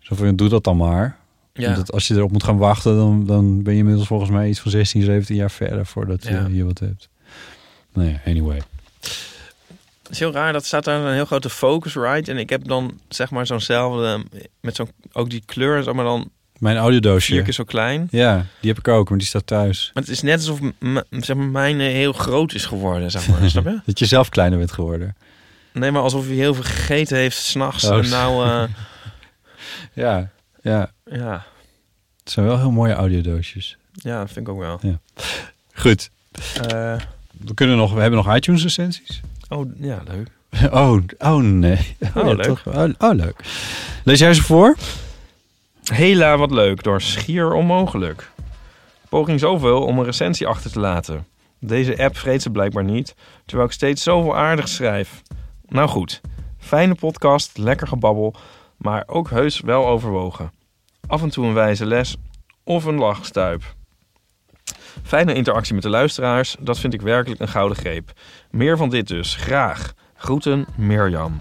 Speaker 4: Zo van, doe dat dan maar.
Speaker 3: Ja.
Speaker 4: Want het- als je erop moet gaan wachten, dan, dan ben je inmiddels volgens mij iets van 16, 17 jaar verder voordat je
Speaker 3: Ja.
Speaker 4: hier wat hebt. Nou ja, anyway.
Speaker 3: Het is heel raar, dat staat daar een heel grote Focusrite. En ik heb dan zeg maar zo'nzelfde, met zo'n, ook die kleur, zeg maar dan
Speaker 4: Mijn
Speaker 3: vier
Speaker 4: audiodoosje.
Speaker 3: keer zo klein.
Speaker 4: Ja, die heb ik ook, maar die staat thuis.
Speaker 3: Maar het is net alsof m- m- zeg maar, mijn eh, heel groot is geworden, zeg maar. Snap je?
Speaker 4: Dat je zelf kleiner bent geworden.
Speaker 3: Nee, maar alsof hij heel veel gegeten heeft s'nachts.
Speaker 4: Oh,
Speaker 3: en nou, eh,
Speaker 4: Ja, ja.
Speaker 3: ja,
Speaker 4: Het zijn wel heel mooie audiodoosjes.
Speaker 3: ja, dat vind ik ook wel.
Speaker 4: Goed,
Speaker 3: Eh,
Speaker 4: we, kunnen nog, we hebben nog iTunes recensies.
Speaker 3: oh, ja, leuk.
Speaker 4: Oh, oh nee.
Speaker 3: Oh,
Speaker 4: ja,
Speaker 3: leuk.
Speaker 4: toch? Oh, oh, leuk. Lees jij ze voor?
Speaker 3: Hela wat leuk, door schier onmogelijk. Poging zoveel om een recensie achter te laten. Deze app vreet ze blijkbaar niet, terwijl ik steeds zoveel aardig schrijf. Nou goed, fijne podcast, lekker gebabbel, maar ook heus wel overwogen. Af en toe een wijze les of een lachstuip. Fijne interactie met de luisteraars, dat vind ik werkelijk een gouden greep. Meer van dit dus, graag. Groeten, Mirjam.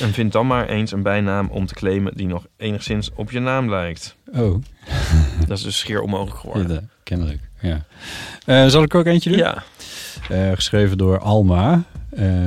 Speaker 3: En vind dan maar eens een bijnaam om te claimen die nog enigszins op je naam lijkt.
Speaker 4: Oh,
Speaker 3: Dat is dus schier onmogelijk
Speaker 4: ja,
Speaker 3: geworden.
Speaker 4: dat- kennelijk. Ja. Eh, zal ik er ook eentje doen?
Speaker 3: Ja,
Speaker 4: Eh, geschreven door Alma. Eh,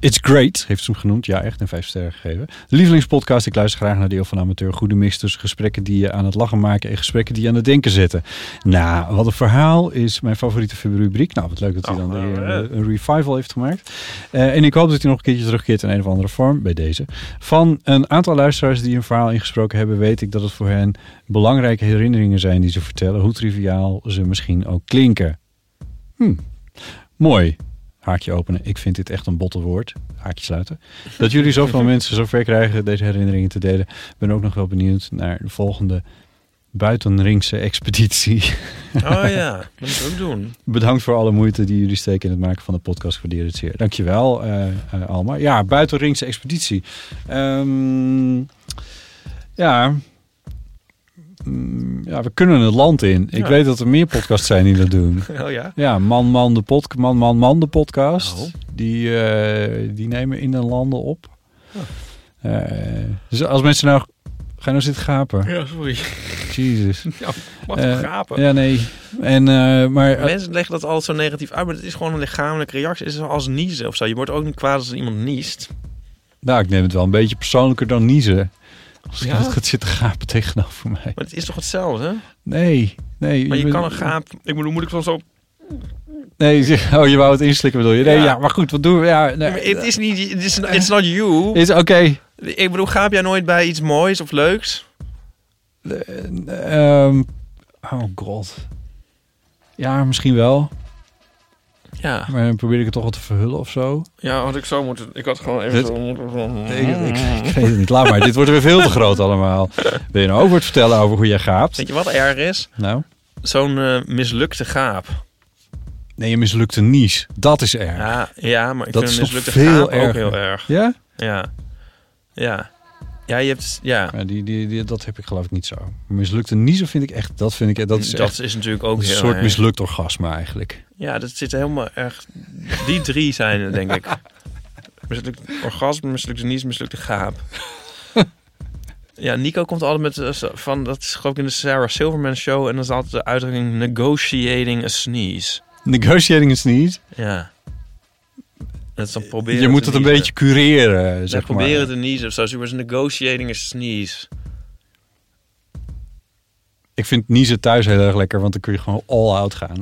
Speaker 4: It's Great, heeft ze hem genoemd. Ja, echt een vijf sterren gegeven. Lievelingspodcast, ik luister graag naar Deel van Amateur. Goede mix tussen gesprekken die je aan het lachen maken en gesprekken die je aan het denken zetten. Nou, wat een verhaal is mijn favoriete rubriek. Nou, wat leuk dat hij
Speaker 3: Oh,
Speaker 4: dan
Speaker 3: nou,
Speaker 4: weer
Speaker 3: hè.
Speaker 4: een, een revival heeft gemaakt. Eh, en ik hoop dat hij nog een keertje terugkeert in een of andere vorm, bij deze. Van een aantal luisteraars die een verhaal ingesproken hebben, weet ik dat het voor hen belangrijke herinneringen zijn die ze vertellen. Hoe triviaal ze misschien ook klinken. Hm. Mooi. Haakje openen. Ik vind dit echt een botte woord. Haakje sluiten. Dat jullie zoveel mensen zover krijgen deze herinneringen te delen. Ik ben ook nog wel benieuwd naar de volgende buitenringse expeditie.
Speaker 3: oh ja, dat moet ik ook doen.
Speaker 4: Bedankt voor alle moeite die jullie steken in het maken van de podcast. Ik Waardeer het zeer. Dankjewel, eh eh, Alma. Ja, buitenringse expeditie. Ehm, ja. Mm, ja, we kunnen het land in. Ik
Speaker 3: Ja.
Speaker 4: weet dat er meer podcasts zijn die dat doen.
Speaker 3: Oh ja.
Speaker 4: Ja, Man Man de, pod man, man, man de podcast.
Speaker 3: Oh.
Speaker 4: Die, eh, die nemen in de landen op.
Speaker 3: Oh.
Speaker 4: Eh, dus als mensen nou... Ga je nou zitten gapen?
Speaker 3: Ja, sorry.
Speaker 4: Jezus.
Speaker 3: Mag
Speaker 4: Eh,
Speaker 3: toch gapen?
Speaker 4: Ja, nee. En, eh, maar...
Speaker 3: Mensen leggen dat altijd zo negatief uit, maar het is gewoon een lichamelijke reactie. Het is als niezen of zo. Je wordt ook niet kwaad als iemand niest.
Speaker 4: Nou, ik neem het wel een beetje persoonlijker dan niezen. Als
Speaker 3: Ja?
Speaker 4: iemand gaat zitten gapen tegenover mij.
Speaker 3: Maar het is toch hetzelfde? hè?
Speaker 4: Nee, nee.
Speaker 3: Maar je
Speaker 4: bent-
Speaker 3: kan een gaap... Ik bedoel, moet ik soms op...
Speaker 4: Nee, oh, je wou het inslikken bedoel je? Nee, ja,
Speaker 3: Ja.
Speaker 4: maar goed, wat doen we? Ja, nee.
Speaker 3: Ja, maar Het is niet... Het is it's not you.
Speaker 4: Is- Oké,
Speaker 3: Ik bedoel, gaap jij nooit bij iets moois of leuks?
Speaker 4: Ehm, oh god. Ja, misschien wel.
Speaker 3: Ja.
Speaker 4: Maar dan probeerde ik het toch wel te verhullen of zo.
Speaker 3: ja, had ik zo moeten... Ik had gewoon even
Speaker 4: Dit-
Speaker 3: zo moeten...
Speaker 4: Ik, ik, ik weet het niet. Laat maar. Dit wordt weer veel te groot allemaal. Wil je nou over het vertellen over hoe jij gaapt?
Speaker 3: Weet je wat erg is?
Speaker 4: Nou?
Speaker 3: Zo'n eh, mislukte gaap.
Speaker 4: Nee, je mislukte nies. Dat is erg. Ja?
Speaker 3: Ja, ja maar ik
Speaker 4: Dat
Speaker 3: vind
Speaker 4: is
Speaker 3: een
Speaker 4: nog
Speaker 3: mislukte
Speaker 4: veel
Speaker 3: gaap ook
Speaker 4: erger.
Speaker 3: heel erg. Ja. Ja. Ja, je hebt... Ja.
Speaker 4: Ja, die, die, die- dat heb ik geloof ik niet zo. Mislukte niezen vind ik echt... Dat vind ik... Dat is echt
Speaker 3: natuurlijk ook
Speaker 4: een
Speaker 3: heel
Speaker 4: soort
Speaker 3: erg.
Speaker 4: mislukt orgasme eigenlijk.
Speaker 3: Ja, dat zit helemaal erg... Die drie zijn het, denk ik. Mislukt orgasme, mislukte niets, mislukte gaap. Ja, Nico komt altijd met eh, zo- van, dat is geloof ik in de Sarah Silverman show, en dan is altijd de uitdrukking negotiating a sneeze.
Speaker 4: Negotiating is niet.
Speaker 3: Ja. Dat is dan proberen
Speaker 4: Eh, Je moet
Speaker 3: te
Speaker 4: het een
Speaker 3: niezen.
Speaker 4: beetje cureren,
Speaker 3: Ze
Speaker 4: zeg maar.
Speaker 3: proberen te niezen of zo. Ze zeggen, negotiating a sneeze.
Speaker 4: Ik vind niezen thuis heel erg lekker, want dan kun je gewoon all-out gaan.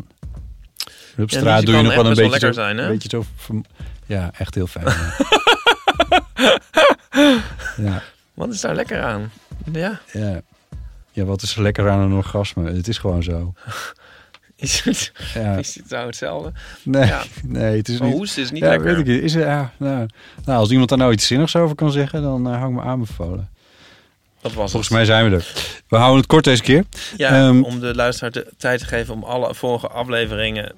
Speaker 4: Op
Speaker 3: Ja, niezen
Speaker 4: straat doe je
Speaker 3: kan
Speaker 4: nog
Speaker 3: echt
Speaker 4: wel een
Speaker 3: best wel
Speaker 4: beetje,
Speaker 3: lekker
Speaker 4: zo,
Speaker 3: zijn, hè?
Speaker 4: een beetje zo... verm- Ja, echt heel fijn. ja. ja,
Speaker 3: Wat is daar lekker aan? Ja,
Speaker 4: ja. Ja, wat is er lekker aan een orgasme? Het is gewoon zo.
Speaker 3: is het,
Speaker 4: Ja.
Speaker 3: is het nou hetzelfde?
Speaker 4: Nee,
Speaker 3: Ja.
Speaker 4: nee, het is
Speaker 3: Maar
Speaker 4: niet...
Speaker 3: hoesten is niet
Speaker 4: ja,
Speaker 3: lekker.
Speaker 4: weet ik niet. Is er, ja, nou, nou, als iemand daar nou iets zinnigs over kan zeggen, dan eh, hou ik me aanbevolen.
Speaker 3: Dat was
Speaker 4: Volgens
Speaker 3: het.
Speaker 4: mij zijn we er. We houden het kort deze keer.
Speaker 3: Ja,
Speaker 4: Ehm,
Speaker 3: om de luisteraar de tijd te geven om alle vorige afleveringen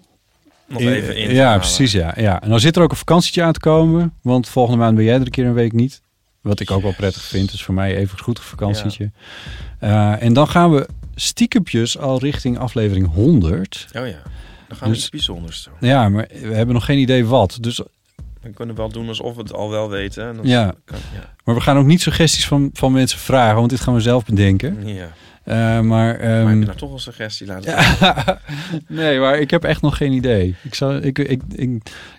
Speaker 3: nog even in te
Speaker 4: Ja,
Speaker 3: halen.
Speaker 4: precies. Ja, ja. En dan zit er ook een vakantietje aan te komen. Want volgende maand ben jij er een keer een week niet. Wat ik ook wel prettig vind. Dus voor mij even goed een vakantietje. Eh, en dan gaan we stiekempjes al richting aflevering 100.
Speaker 3: Oh ja, dan gaan we
Speaker 4: Dus-
Speaker 3: iets bijzonders doen.
Speaker 4: Ja, maar we hebben nog geen idee wat. Dus,
Speaker 3: We kunnen wel doen alsof we het al wel weten. En dat
Speaker 4: Ja.
Speaker 3: Kan, ja.
Speaker 4: maar we gaan ook niet suggesties van, van mensen vragen. Want dit gaan we zelf bedenken.
Speaker 3: ja.
Speaker 4: Eh, maar, ehm,
Speaker 3: maar heb je nou toch een suggestie laten ja.
Speaker 4: Ja. nee, maar ik heb echt nog geen idee. Ik zou, ik, ik, ik, ik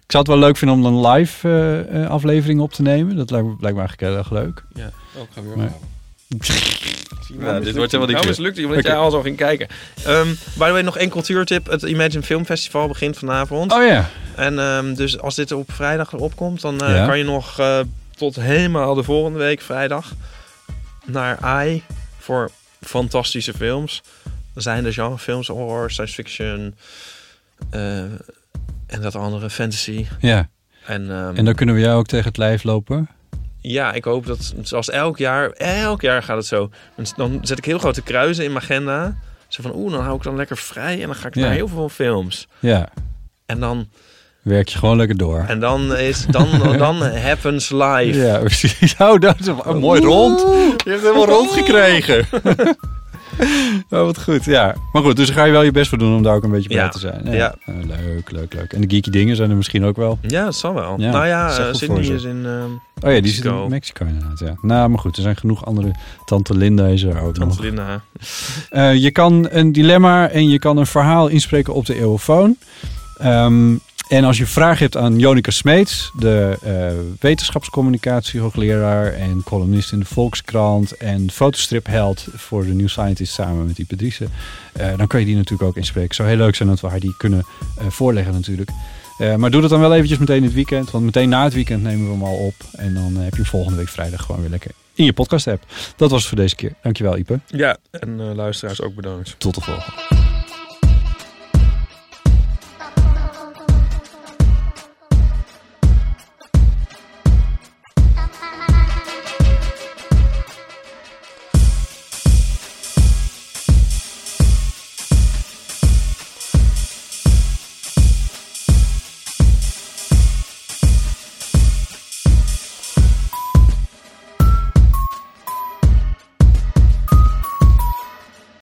Speaker 4: zou het wel leuk vinden om een live eh, eh, aflevering op te nemen. Dat lijkt me, lijkt me eigenlijk heel erg leuk.
Speaker 3: ja. Oh, ik ga weer
Speaker 4: Nee.
Speaker 3: ophouden. Zie je,
Speaker 4: Ja,
Speaker 3: nou
Speaker 4: dit
Speaker 3: mislukt-
Speaker 4: wordt helemaal niet
Speaker 3: Nou
Speaker 4: leuk.
Speaker 3: mislukt hij, omdat
Speaker 4: Oké.
Speaker 3: jij al zo ging kijken. Ehm by the way, nog één cultuurtip. Het Imagine Film Festival begint vanavond.
Speaker 4: Oh ja.
Speaker 3: En ehm, dus als dit op vrijdag opkomt, dan eh,
Speaker 4: Ja.
Speaker 3: kan je nog eh, tot helemaal de volgende week vrijdag naar AI voor fantastische films. Er zijn de genrefilms, horror, science fiction eh, en dat andere, fantasy.
Speaker 4: Ja.
Speaker 3: En, ehm,
Speaker 4: En dan kunnen we jou ook tegen het lijf lopen.
Speaker 3: ja, ik hoop dat, zoals elk jaar, elk jaar gaat het zo. Dan- Dan zet ik heel grote kruisen in mijn agenda. Zo van, oeh, dan hou ik dan lekker vrij en dan ga ik
Speaker 4: Ja.
Speaker 3: naar heel veel films.
Speaker 4: Ja.
Speaker 3: En dan,
Speaker 4: Werk je gewoon lekker door.
Speaker 3: en dan is, dan, dan happens live.
Speaker 4: Ja, precies. Oh, dat is een mooi rond. Je hebt helemaal rond gekregen. oh, wat goed. Ja. Maar goed, dus daar ga je wel je best voor doen om daar ook een beetje bij
Speaker 3: Ja.
Speaker 4: te zijn.
Speaker 3: Ja.
Speaker 4: Eh, Leuk, leuk, leuk. En de geeky dingen zijn er misschien ook wel.
Speaker 3: Ja, dat zal wel.
Speaker 4: Ja,
Speaker 3: nou
Speaker 4: dat is echt
Speaker 3: ja, eh,
Speaker 4: goed
Speaker 3: Sydney
Speaker 4: voor ze.
Speaker 3: is in... ehm
Speaker 4: Oh ja, die zit in
Speaker 3: Mexico.
Speaker 4: Mexico inderdaad, ja. Nou, maar goed, er zijn genoeg andere. Tante Linda is er ook
Speaker 3: Tante
Speaker 4: nog.
Speaker 3: Linda.
Speaker 4: Eh, je kan een dilemma en je kan een verhaal inspreken op de eeuwofoon. Ehm, en als je vragen hebt aan Jonica Smeets, de eh wetenschapscommunicatiehoogleraar en columnist in de Volkskrant en fotostripheld voor de New Scientist samen met die Pedrice, eh, dan kan je die natuurlijk ook inspreken. Zou heel leuk zijn dat we haar die kunnen eh, voorleggen natuurlijk. Eh, maar doe dat dan wel eventjes meteen in het weekend, want meteen na het weekend nemen we hem al op. En dan eh, heb je hem volgende week vrijdag gewoon weer lekker in je podcast app. Dat was het voor deze keer. Dankjewel Ipe.
Speaker 3: Ja, en eh, luisteraars ook bedankt.
Speaker 4: Tot de volgende.